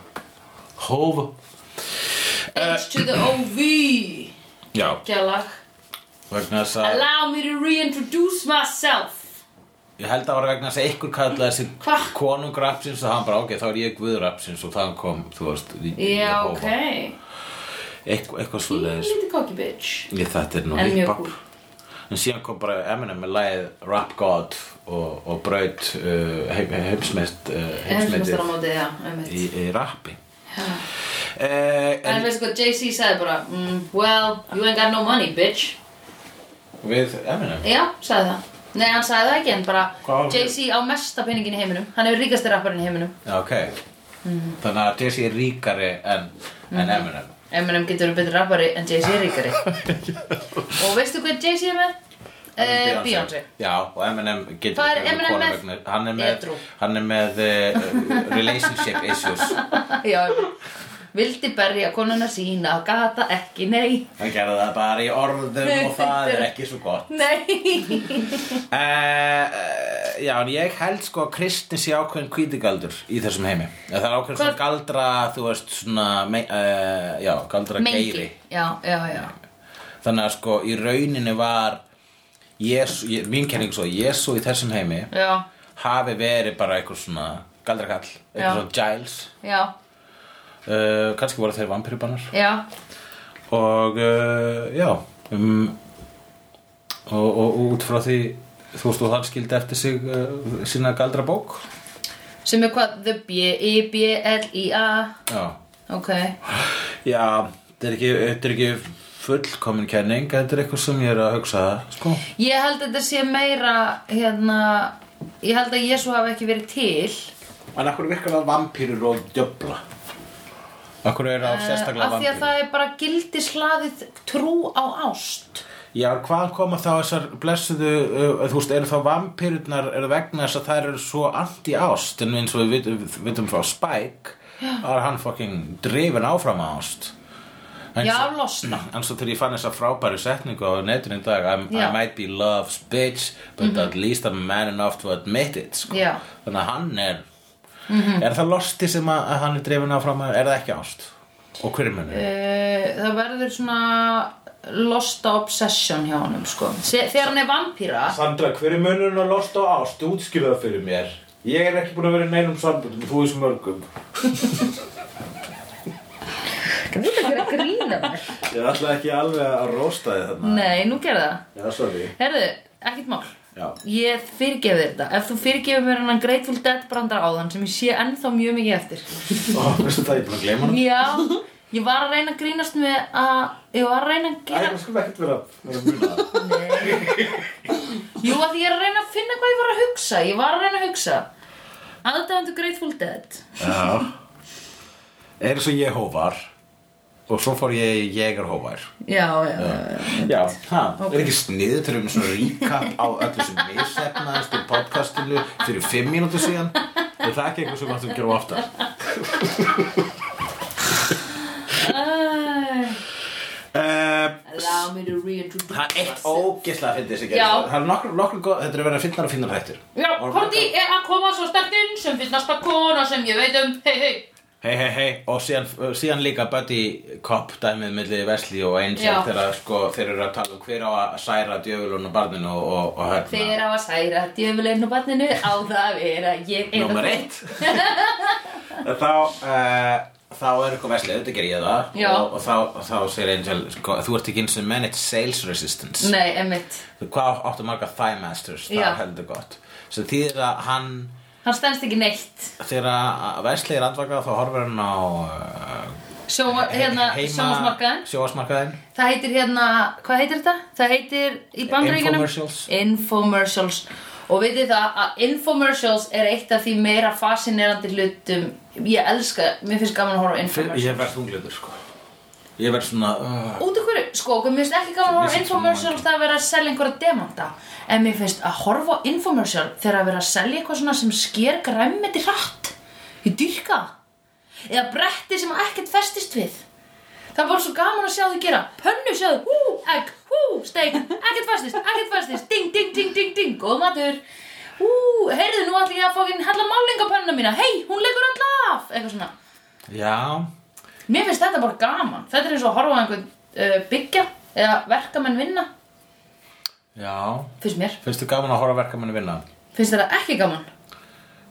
Hóf. Eh. H to the O-V. Já. Gjallag. Vegna þess að Allow me to reintroduce myself. Ég held að það var vegna þess að einhver kallaði Hva? þessi konung rapsins og hann bara ok, þá er ég guð rapsins og þann kom, þú veist í- í Já, hófa. ok. Eitthvað- Eitthvað svo leiðis Lítið cocky bitch. Ég þetta er nú En mjög hip-hop. cool. En síðan kom bara Eminem með lagið Rap God og, og braut uh, heim, heimsmeist uh, heimsmeitið Heimsmestaramótið, já, einmitt. í, í rappi Eh, uh, En en, veistu hvað Jay-Z sagði bara mm, Well, you ain't got no money, bitch við Eminem Já, sagði það. Nei, hann sagði það ekki en bara Hvað á við? Jay-Z á mesta peningin í heiminum. Hann hefur ríkasti rapparinn í heiminum. Já, ok Mm. Þannig að Jesse er ríkari en, Mhm. en Eminem Eminem getur verið betri rappari en Jay-Z er (laughs) ríkari. og veistu hvað Jay-Z er með? Uh, Beyoncé. Já, og Eminem getur Hvað er ekki verið Eminem kona með? vegna- Hann er með, Edrú. hann er með uh, relationship issues (laughs) Já, vildi berja konuna sína og gata ekki, nei. Hann gerði það bara í orðum (laughs) og það er ekki svo gott Nei. uh, Já, en ég held sko að Kristni sé ákveðin kvítigaldur í þessum heimi Eða Það er ákveðin svona Hvað- galdra, þú veist, svona, me, uh, já, galdra geiri Já, já, já. Þannig að sko í rauninni var Jésu, ég, mín kenning svo Jésu í þessum heimi Já, hafi verið bara einhver svona galdrakall, Já. einhver svona Giles já, uh, kannski voru þeir vampiribannar já. og uh, já um, og, og út frá því þú veist og hann skildi eftir sig uh, sína galdrabók Sem er hvað? The E, B-I-B-L-I-A. já, Ok. já þetta er ekki, þetta er ekki fullkomin kenning þetta er eitthvað sem ég er að hugsa sko. Ég held að þetta sé meira, hérna, ég held að Jésu hafi ekki verið til. en akkur virkar það vampýrur og djöbla akkur er það eh, sérstaklega Af því að vampýrur það er bara gildi slaðið trú á ást. Já, hvaðan koma þá þessar blessuðu, uh, þú veist, eru þá vampirurnar eru vegna þess að þær eru svo anti-ást en eins og við vitum, við vitum frá Spike þá er hann fucking drifin áfram á ást En Já, svo- losna. (clears throat) En svo þegar ég fann þessa frábæru setningu á netinu í dag I'm, I Já. Mhm. might be love's bitch but at least I'm man enough to admit it sko. Já. Mhm. Þannig að hann er Er það losti sem að, að hann er drifin áfram að, er það ekki ást? Og hverjum henni? Uh, það verður svona losta obsession hjá honum, sko. Se, þegar hann er vampíra. Sandra, hver er munurinn á lost og ást? Útskifu það fyrir mér. Ég er ekki búin að vera í neinum sambundum, þú veist mörgum. Þú veit ekki að grína mér. Ég ætla ekki alveg að rósta þið þarna. Nei, nú gerði það. Já, sorry. Herðu, ekkert mál. Já. Ég fyrirgef þér þetta. Ef þú fyrirgefur mér hennan Grateful Dead brandar áðan sem ég sé ennþá mjög mikið eftir. Ó, veistu það, ég er búin að gleyma hana. Já, ég var að reyna að grínast með að ég var að reyna að Æ, gera það skulum ekkert vera vera að muna það. Jú, að ég er að reyna að finna hvað ég var að hugsa Ég var að reyna að hugsa Aðdæfandu Grateful Dead Já. Er eins og ég hóvar og svo fór ég í ég er hóvar. Já, já, já Já, ha, er ekki snið þegar við erum svona recap á öllu sem misefnaðist í podcastinu fyrir fimm mínútur síðan er það ekki eitthvað sem áttum að gera oftar Æ, uh, Allow me to reintroduce Það er eitt myself. ógeðslega að fyndi þessi Já. gerð Það er nokkur, nokkur góð, þetta er að vera finnar og finnar hættur Já, Korti er að koma svo sterkt inn sem finnst næsta kona sem ég veit um Hei, hei Hei, hei, hei, og síðan, síðan líka Buddy Cop dæmið milli Vesli og Angel Já. þegar sko, þeir eru að tala um hver á að særa djöfulun og barninu og, og, og hérna Þeir á að særa djöfulinn og barninu á það að vera ég einn og Númer þú. eitt (laughs) Þá uh, Þá er eitthvað veslið, þetta ger ég það Já. og, og þá, þá segir Angel sko, Þú ert ekki eins og manage sales resistance Nei, emmitt Hvað áttu marga thigh masters Það Já. er heldur gott Svo þýðir að hann Hann stendst ekki neitt Þegar Vesli er andvakað þá horfir hann á uh, Sjóma, hérna, heima- sjómasmarkaðin sjónvarpsmarkaðinn. Það heitir hérna, hvað heitir þetta? Það heitir í bandaríkjunum Infomercials. Infomercials Og vitið það að infomercials er eitt af því meira fascinerandi hlutum Ég elska, mér finnst gaman að horfa á Fyrir- infomercials Ég verð þunglindur sko Ég verð svona uh, Út af hverju, sko, okkur mér finnst ekki gaman að Mér horfa á finnst infomercials Það að vera að selja einhverja demanta En mér finnst að horfa á infomercial Þegar að vera að selja eitthvað svona sem sker græmmeti hratt Ég dyrka það. Eða bretti sem ekkert festist við Það er bara svo gaman að sjá þau gera Pönnu sjáðu, hú, egg, hú, steik Ekkert fastist, ekkert fastist Ding, ding, ding, ding, ding, góð matur Hú, heyrðu, nú ætla ég að fá ekki Hella málingapönnuna mína, hei, hún leikur öll af Eitthvað svona Já Mér finnst þetta bara gaman Þetta er eins og að horfa á einhvern uh, byggja Eða verkamenn vinna Já Finnst mér, Finnstu gaman að horfa verkamanni vinna finnst þetta ekki gaman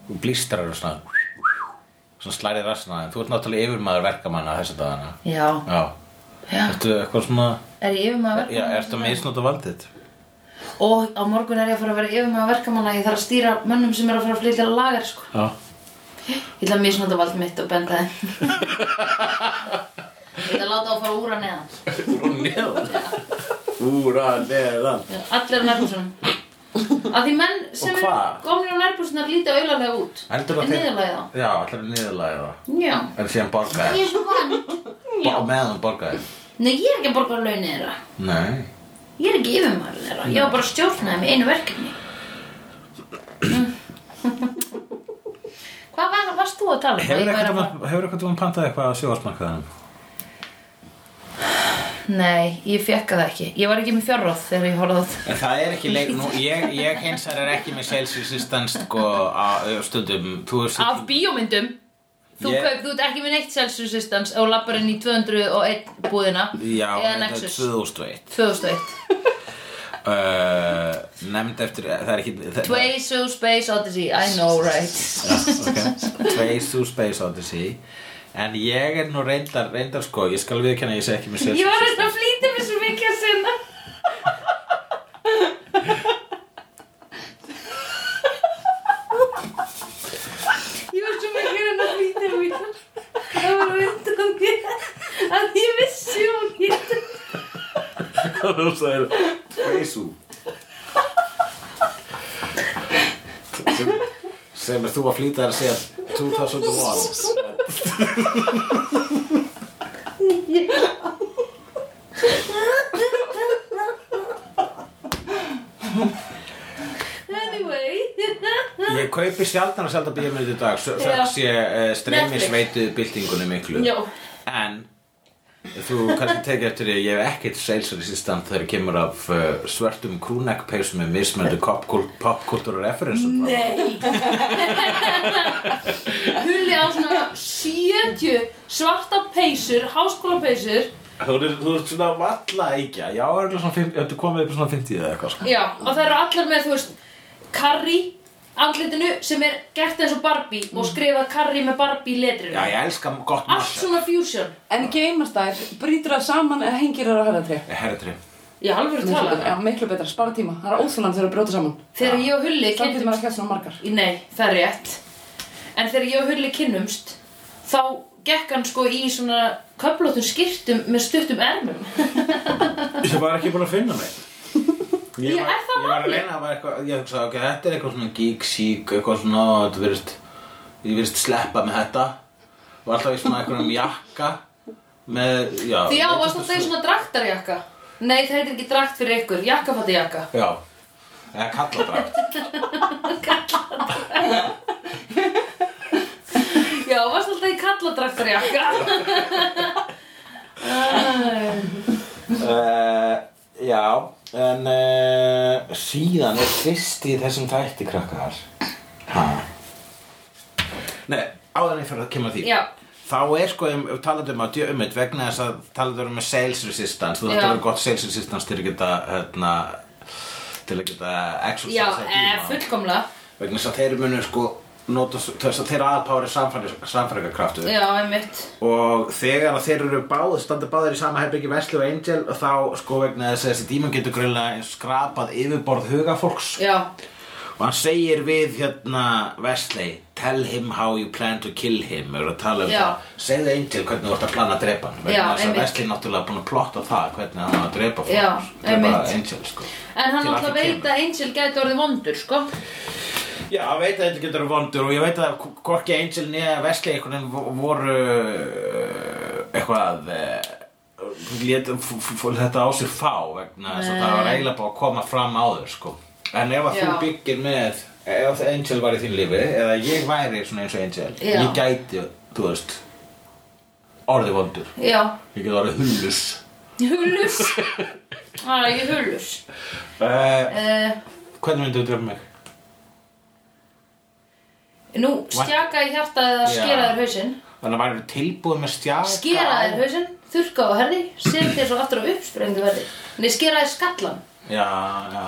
Þú blístrar og svona Svona slærið rassina Þú ert náttúrulega yfirmaður verkamanna þessa dagana Já, Já já, Ertu eitthvað svona er ég yfir maður Já, ertu að misnota valdið Og á morgun er ég að fara að vera yfir maður verkamanna Ég þarf að stýra mönnum sem er að fara að flytja lagar sko. Já Ég ætla að misnota vald mitt og benda (laughs) þeim Ég ætla að láta á að fara úr að neðan Úr og neðan Úraleran Já, Allir á nærbúsunum Af því menn sem Og eru hvað? komnir á nærbúsunar líta auðarlega út Heldur Þeir niðurlægja það Já, ætlar að niðurlæða það Já En síðan Ég borgaði er svo vant Bá meðan hún borgaði Nei, ég er ekki að borga launir þeirra Nei Ég er ekki yfirmaður þeirra Ég var bara að stjórna þeim í einu verkefni Hvað var, varst þú að tala um? Hefur Ég var að- eitthvað tíma pantað eitthvað á sjóðarsmarkaðanum? Nei, ég fekk það ekki Ég var ekki með fjárráð þegar ég horfði á það En það er ekki leik, nú, ég, ég hins vegar er ekki með sales resistance sko á á stundum, þú veist Af bíómyndum Þú, Ég- kaup, þú ert ekki með neitt Celsius resistance og lappar inn í 201 búðina Já, eða þetta er Nexus 2001 2001 uh, Nefnd eftir, það er ekki það- Twazu Space Odyssey, I know right okay. Tveis þú Space Odyssey En ég er nú reyndar, reyndar sko, ég skal viðkenna að ég hérna sé ekki með sales Ég var þetta að flýta mér svo mikið að sinna Ég var svo mikið að reyna að flýta mér Það var vindgangi að ég vissi um hún hétt Þú sagðir Treisu sem, sem er þú að flýta þér að segja 2001 Anyway Ég kaupi sjaldan að sjaldan bíómynd í dag Þöks ég uh, streymi sveitu byltingunni miklu Já. En þú kannski tekið eftir því að ég hef ekkert sales resistant þegar kemur af uh, svörtum krúnekkpeysum með mismöndu popkultúra referensum Nei Hulli á svona 70 svarta peysur, háskólapeysur Þú ert þú ert svona valla ekki Já, er örugglega svona fimm- ertu komið upp í svona 50 eða eitthvað sko. Já, og það eru allar með, þú veist, karri andlitinu sem er gert eins og Barbie og skrifað karri með Barbie í letrinu Já, ég elska gott Allt margt svona fusion En geimast þær, brýtur það saman eða hengir það á herratri. Herratri Í alvöru Miklu tala betra, já, miklu betra, spara tíma. Það er óþúland þegar að brjóta saman. Þegar ég og Hulli Þá getur kynntumst maður að kjæsta svona margar. Í- Nei, það er rétt En þegar ég og Hulli kynnumst þá gekk hann sko í svona köflóttum skirtum með stuttum ermum Ég var ekki búin að finna mig Ég, Já, var, er ég var það að málið? reyna að vera eitthvað Ég hugsaði, ok, þetta er eitthvað svona geek, sík Eitthvað svona, þetta virðist Ég virðist sleppa með þetta Og alltaf í svona einhverjum jakka Með, já Því já, varst alltaf í svona draktarjakka Nei, það heitir ekki drakt fyrir ykkur, jakkafattajakka Já, eða kalladrækt Já, varst alltaf í kalladraktarjakka (laughs) uh, Já, en uh, Síðan er fyrst í þessum þætti krakkar Ha Nei, áður en ég fyrir að kemur að því Já, Þá er sko, um, talandi um að djö um eitt vegna þess að talandi um sales resistance, þú þarf Já. að vera gott sales resistance til að geta, hérna, til að geta exorcise já, e, fullkomlega Vegna þess að þeir munu sko, nota, þess að þeir aðpári samfæringarkraftu Já, einmitt og þegar að þeir eru báð standa báðir í sama herbyggi Vesli og Angel og þá sko vegna þess að þessi dímon getur greinlega skrapað yfirborð hugafólks Já, og hann segir við hérna Wesley tell him how you plan to kill him við erum að tala um Já. það segðu Angel hvernig þú ert að plana að drepa hann Já, vegna þess að einmitt. Wesley er náttúrulega búin að plotta það hvernig hann á að drepa fólk Já, drepa einmitt. Angel sko en hann Til að alltaf ekki veit kemur. að Angel gæti orðið vondur, sko Já, ég veit að þetta getur verið vondur og ég veit að hvorki Angel niða Wesley einhvern veginn vo- voru uh, eitthvað lét, f, f, f, þetta á sér fá vegna þess að það var eiginlega búið að koma fram áður sko. en ef að þú Já. byggir með ef Angel var í þín lífi eða ég væri svona eins og Angel Já. ég gæti, þú veist orðið vondur Já, ég get orðið hullus (laughs) hullus Það er ekki hullus uh, uh, Hvernig myndið þú drefum mig? Nú, stjaka í hjarta eða Já. skera þér hausinn Þannig að væri tilbúið með stjaka Skera á- þér hausinn, þurrka á herði Sef þér svo aftur á uppsprengu herði Nei, skera þér skallan Já, já, já,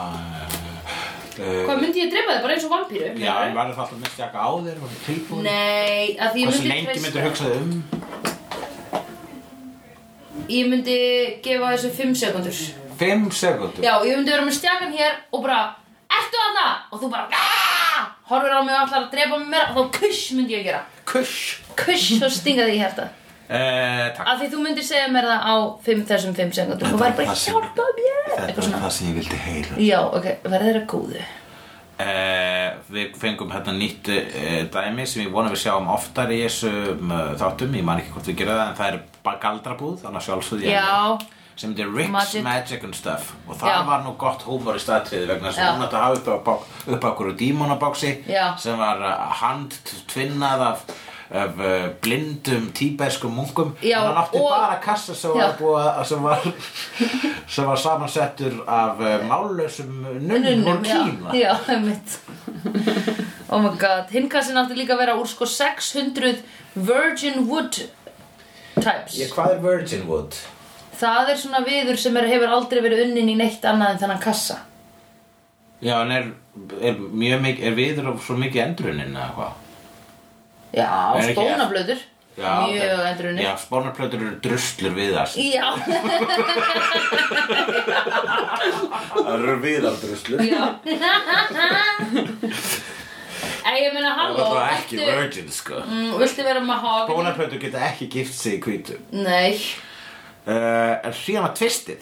Eh, já. Hvað myndi ég drepa þig bara eins og vampíru? Já, en verður það alltaf með stjaka á þér og tilbúin? Nei, að því ég Hversu myndi lengi treysta- myndir hugsa þig um? Ég myndi gefa þessu 5 sekundur 5 sekundur? Já, ég myndi vera með stjakan hér og bara Ertu þarna? Og þú bara "Ah!" Horfir á mig og ætlar að drepa mig meira Og þá kuss myndi ég gera Kush! Kuss og stinga þig í hjarta Eh, takk. Af því þú myndir segja mér það á 5 þessum 5 sekundum Og væri bara passar. hjálpa mér Þetta er það sem ég vildi heyra Já, ok, verður þeirra góðu Eh, við fengum hérna nýtt eh, dæmi sem ég vona við sjáum oftar í þessum uh, þáttum, ég man ekki hvort við gerum það en það er bara galdrabúð, þannig að sjálfsögðu ég Já. sem þetta er Rick's Magic. Magic. and Stuff og það Já. var nú gott húmor í staðtriði vegna þess Já. að hún átti að hafa upp á, bák- upp á okkur dímonabóksi Já. sem var uh, handtvinnað af af uh, blindum tíbæskum munkum Já, en hann átti og- bara kassa sem Já. var, búið, að- sem var, sem var (laughs) samansettur af uh, mállausum nunnum úr Kína já, já, einmitt Oh my god, hinkassin átti líka að vera úr sko 600 virgin wood types Ég, hvað er Virgin Wood? Það er svona viður sem er, hefur aldrei verið unnin í neitt annað en þennan kassa Já, en er, er mjög mikið, er viður of svo mikið endrunin eða hvað? Já, Er ekki- spónablöður Já, Mjög ok. endrunni Já, spónarplötur eru druslur viðast. Já, Það eru viðardruslur. já (laughs) En ég meina, Það halló var bara ekki ertu- virgin, sko. Mm, Viltu vera mahogany? Spónarplötur geta ekki gift sig í hvítu. Nei Uh, en síðan var tvistið.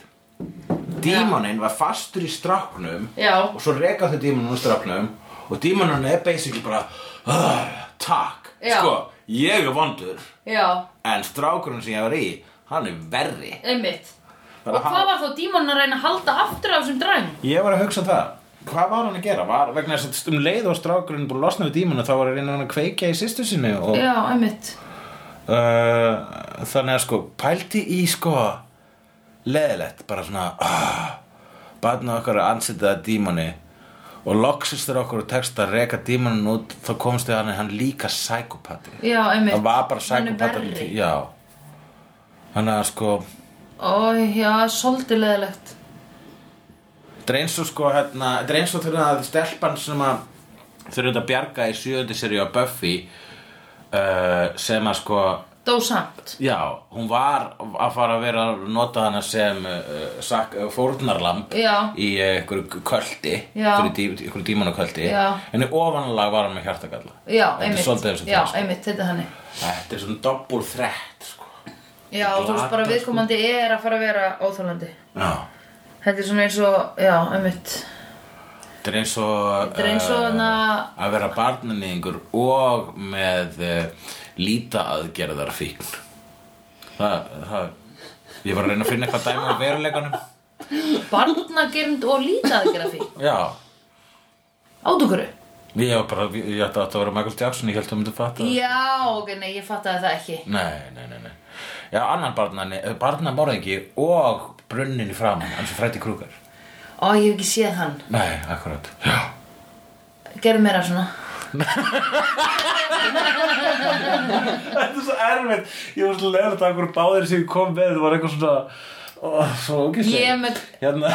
Dímoninn var fastur í stráknum Já. og svo reka þau dímoninn úr stráknum og dímoninn er basically bara "Ah, Takk, Já. sko, ég er vondur Já, en strákurinn sem ég var í, hann er verri. einmitt Bara Og hann- hvað var þá dímonin að reyna að halda aftur af þessum dræm? Ég var að hugsa um það Hvað var hann að gera? Var, vegna þess að um leið og strákurinn búið að losna við dímonu þá var hann að kveikja í sýstu sinni og uh, Já, einmitt Eh, þannig að sko pælti í sko leðilegt bara svona uh, barna okkar að ansita dímoni og loksist þér okkur og tekst að reka dímonin út þá komst þér hann hann líka sækupati Já, einmitt það var bara Hann er sækupati verri. Já Þannig að sko Ó, já, svolítið leðilegt Þetta er eins og sko hérna, þetta er eins og þegar að stelpan sem að þurfum að bjarga í sjöðundi seríu á Buffy uh, sem að sko Dó samt já, hún var að fara að vera að nota hana sem uh, sak, uh, fórnarlamb Já. í uh, einhverju köldi Já. einhverju dí- einhverju dímanaköldi Já. en í ofanlag var hann með hjartagalla Já, þetta einmitt er svolítið eins og það Já, sko. einmitt, þetta er hannig þetta er svona doppul þrætt sko. Já, og þú veist bara Glata, viðkomandi er að fara að vera óþólandi já, Þetta er svona eins og, já, einmitt þetta er eins og Þetta er eins og eh, hana að vera barninningur og með uh, lítaaðgerðar fíkn það, það ég var að reyna að finna eitthvað dæmi á veruleikanum barnagernd og lítaðgrafi já, Átúkuru ég var bara ég ég ætti að þetta vera Michael Jackson, ég held að myndi fatta það. Já, ok, nei, ég fattaði það ekki nei, nei, nei, nei já, annan barnan, barnamorðingi og brunnin í framan, hans og Freddy Krueger Ó, ég hef ekki séð hann nei, akkurat já, Gerð meira svona Þetta er svo erfitt Ég var svo leiðilegt að einhver báðir sem ég kom með Það var eitthvað svona ó, Svo ógislega Ég með- (laughs) hérna.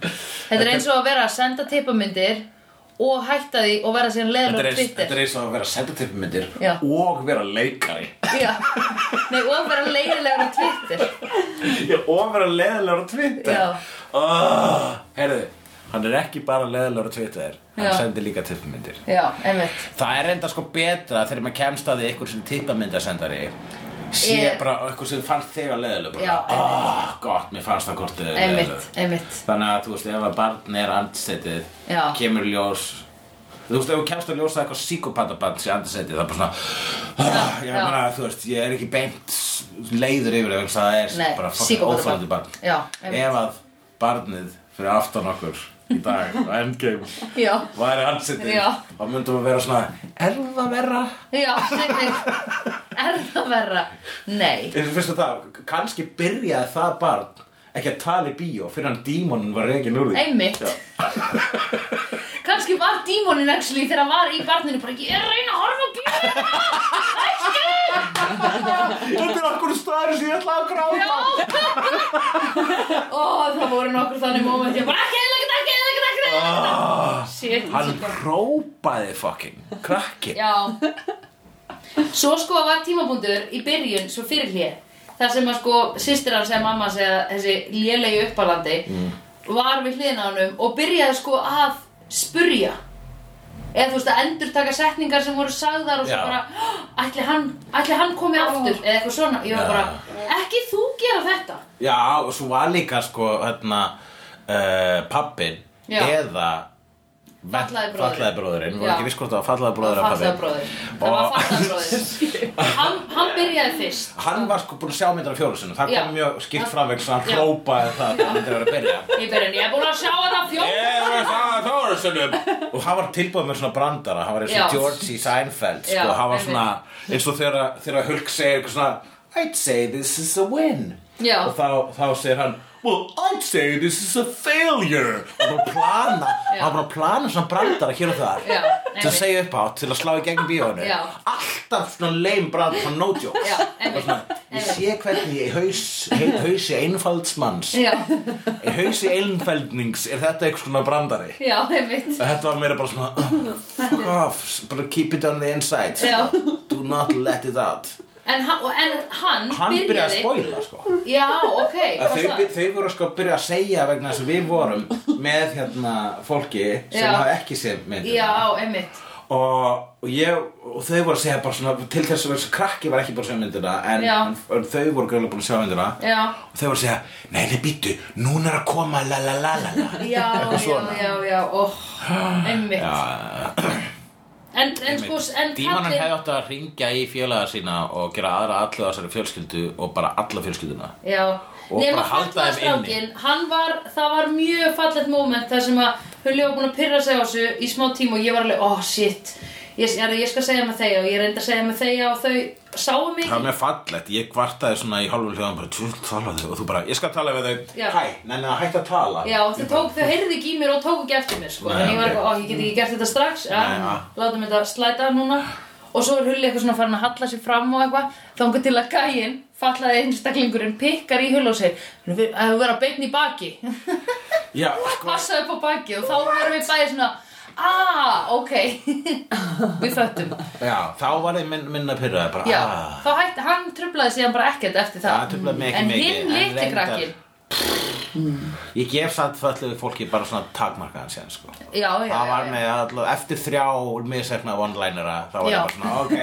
Þetta er eins og að vera að senda teipamyndir og hætta því og vera síðan Þetta er leður á eins- þetta Twitter er eins og að vera sendatifmyndir Já. Og vera (laughs) leikari Já, nei, og vera leiðilegur á Twitter Ég og vera leiðilegur á Twitter Já. oh, Herðu Hann er ekki bara leiðilegur á Twitter Hann Já. sendir líka tippmyndir Já, einmitt Það er enda sko betra þegar maður kemst að því einhver sem tippmyndasendari sé Ég- bara einhver sem fannst þegar leiðilegur bara, Já, oh, gott, mér fannst það hvort þið er leiðilegur Einmitt, einmitt Þannig að þú veist, ef að barn er andsetið, Já. kemur í ljós Þú veist, ef þú kemst að ljósa eitthvað psíkopatabarn sem andsetið, það er bara svona ah, Ég já. meina, þú veist, ég er ekki beint leiður yfir þeim, það er Nei, bara fokkin psíkópatabarn. óþólandi barn Eh. Já, einmitt. Ef að barnið fyrir aftan okkur í dag, á endgame Já, væri andsetið, Já. þá myndum við vera svona Er það verra? já, einmitt Er það verra? Nei Eins og fyrst að það, kannski byrjaði það barn ekki að tala í bíó fyrir hann dímonin var reikin úr því Einmitt Já. Kannski var dímonin actually þegar hann var í barninu bara ég er að reyna að horfa á bíómynd Þetta er okkur staður sem ég ætla að gráta Ó, það voru nokkur þannig moment ég bara ekki eðlægt, ekki eðlægt, ekki eðlægt Shit Ah. Hann hrópaði fucking krakki Já Svo sko var tímabundur í byrjun svo fyrir hlið þar sem að sko sýstir hans eða mamma segja þessi lélegi uppalandi Mm. var við hliðina á honum og byrjaði sko að spurja eða þú veist að endurtaka setningar sem voru sagðar og svo Já. bara "Hó, ætli hann, ætli hann komi aftur eða eitthvað svona, ég var Já. bara ekki þú gera þetta Já, og svo var líka sko hérna uh, pappin Já. eða Fatlaði bróðirinn. fallaði bróðurinn, voru Já. ekki viss hvort það var fallaði bróður eða Fattaði pabbi. bróðir Það var fattaði bróðir hann, hann byrjaði fyrst Hann var sko búin að sjá myndar af fjólusinu, það Já. kom mjög skipt Hann- framveg svo hann Já. hrópaði það að það myndir vera að byrja. (laughs) Í byrjun, ég er búin að sjá þetta fjóð Ég var það Þórusunum Og hann var tilbúið með svona brandara Hann var eins og Já. George í Seinfeld sko. Já, Hann var einmitt. svona eins og þegar þegar Hulk segir eitthvað svona I'd say this is a win Já. Og þá, þá segir hann Well, I'd say this is a failure Og hann var að plana Já. Hann var að plana svona brandara hér og þar Já, Til að einmitt. segja upp átt, til að slá í gegnum bíóinu Já. Alltaf svona lame brandar, svona no jokes Já, einmitt. Ég sé hvernig í haus, hausi einfaldsmanns Já, Í hausi einfeldnings er þetta eitthvað svona brandari já, einmitt Þetta var meira bara svona Fuck off, bara keep it on the inside Já. Do not let it out En, hann- og- en hann, Hann byrjaði að spoila sko Já, ok, Að Þau, hvað það? by- þau voru sko að byrja að segja vegna þess að við vorum með hérna fólki sem Já. hafa ekki séð myndina Já, einmitt og, og, ég, og þau voru að segja bara svona til þess að þessi krakki var ekki búin að sjá myndina en, Já. en, en þau voru greinlega búin að sjá myndina Já. og þau voru að segja nei, nei, býttu, núna er að koma la la la la la Já, Eitthvað já, svona. já, já, óh, einmitt Já, En, en sko, en Dímanum kallinn- hefði átt að ringja í fjölaða sína og gera aðra allu þessari fjölskyldu og bara alla fjölskylduna Já, Og nema bara halda þeim fallastrákin, hann var, það var mjög fallegt moment þar sem að Hulli var búin að pyrra sig á þessu í smá tíma og ég var alveg, oh shit, ég, ég, ég skal segja með þeia og ég reyndi að segja með þeia og þau sáu mig. Það var mér fallegt, ég kvartaði svona í hálfum hljóðan bara, þú talaði og þú bara, ég skal tala við þau Já. Hæ, nenni að hætta að tala Já, þau, tók, þau heyrði ekki í mér og tók ekki eftir mér, sko, Nei, þannig ég var ok. eitthvað, oh, ég get ekki gert þetta strax, ja, Nei, ja. látum þetta slæta núna. Og svo er Hulli eitthvað svona farin að halla sér fram og eitthvað, þangar til að gæinn, fallaði einstaklingurinn, pikkar í Hulli og segir, að þú vera beinn í baki. Já, sko, passa upp á baki og þá verðum við bæði svona aaa, ok (laughs) við föttum já, þá var ég minn, minna pyrraði bara, já, ah, þá hætti, hann trublaði síðan bara ekkert eftir Það það truflaði mig ekki en mikið, hinn en liti reyndar- krakkin Ég gef satt fallegu fólki bara svona takmarkaðan sér, sko já, já, Það já, var já. með allavega, eftir þrjá miðsefna one-linera, þá var Já. ég bara svona, ok,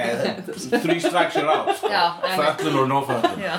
three strikes you're out, sko Já, einmitt. Föllun og no föllun Já.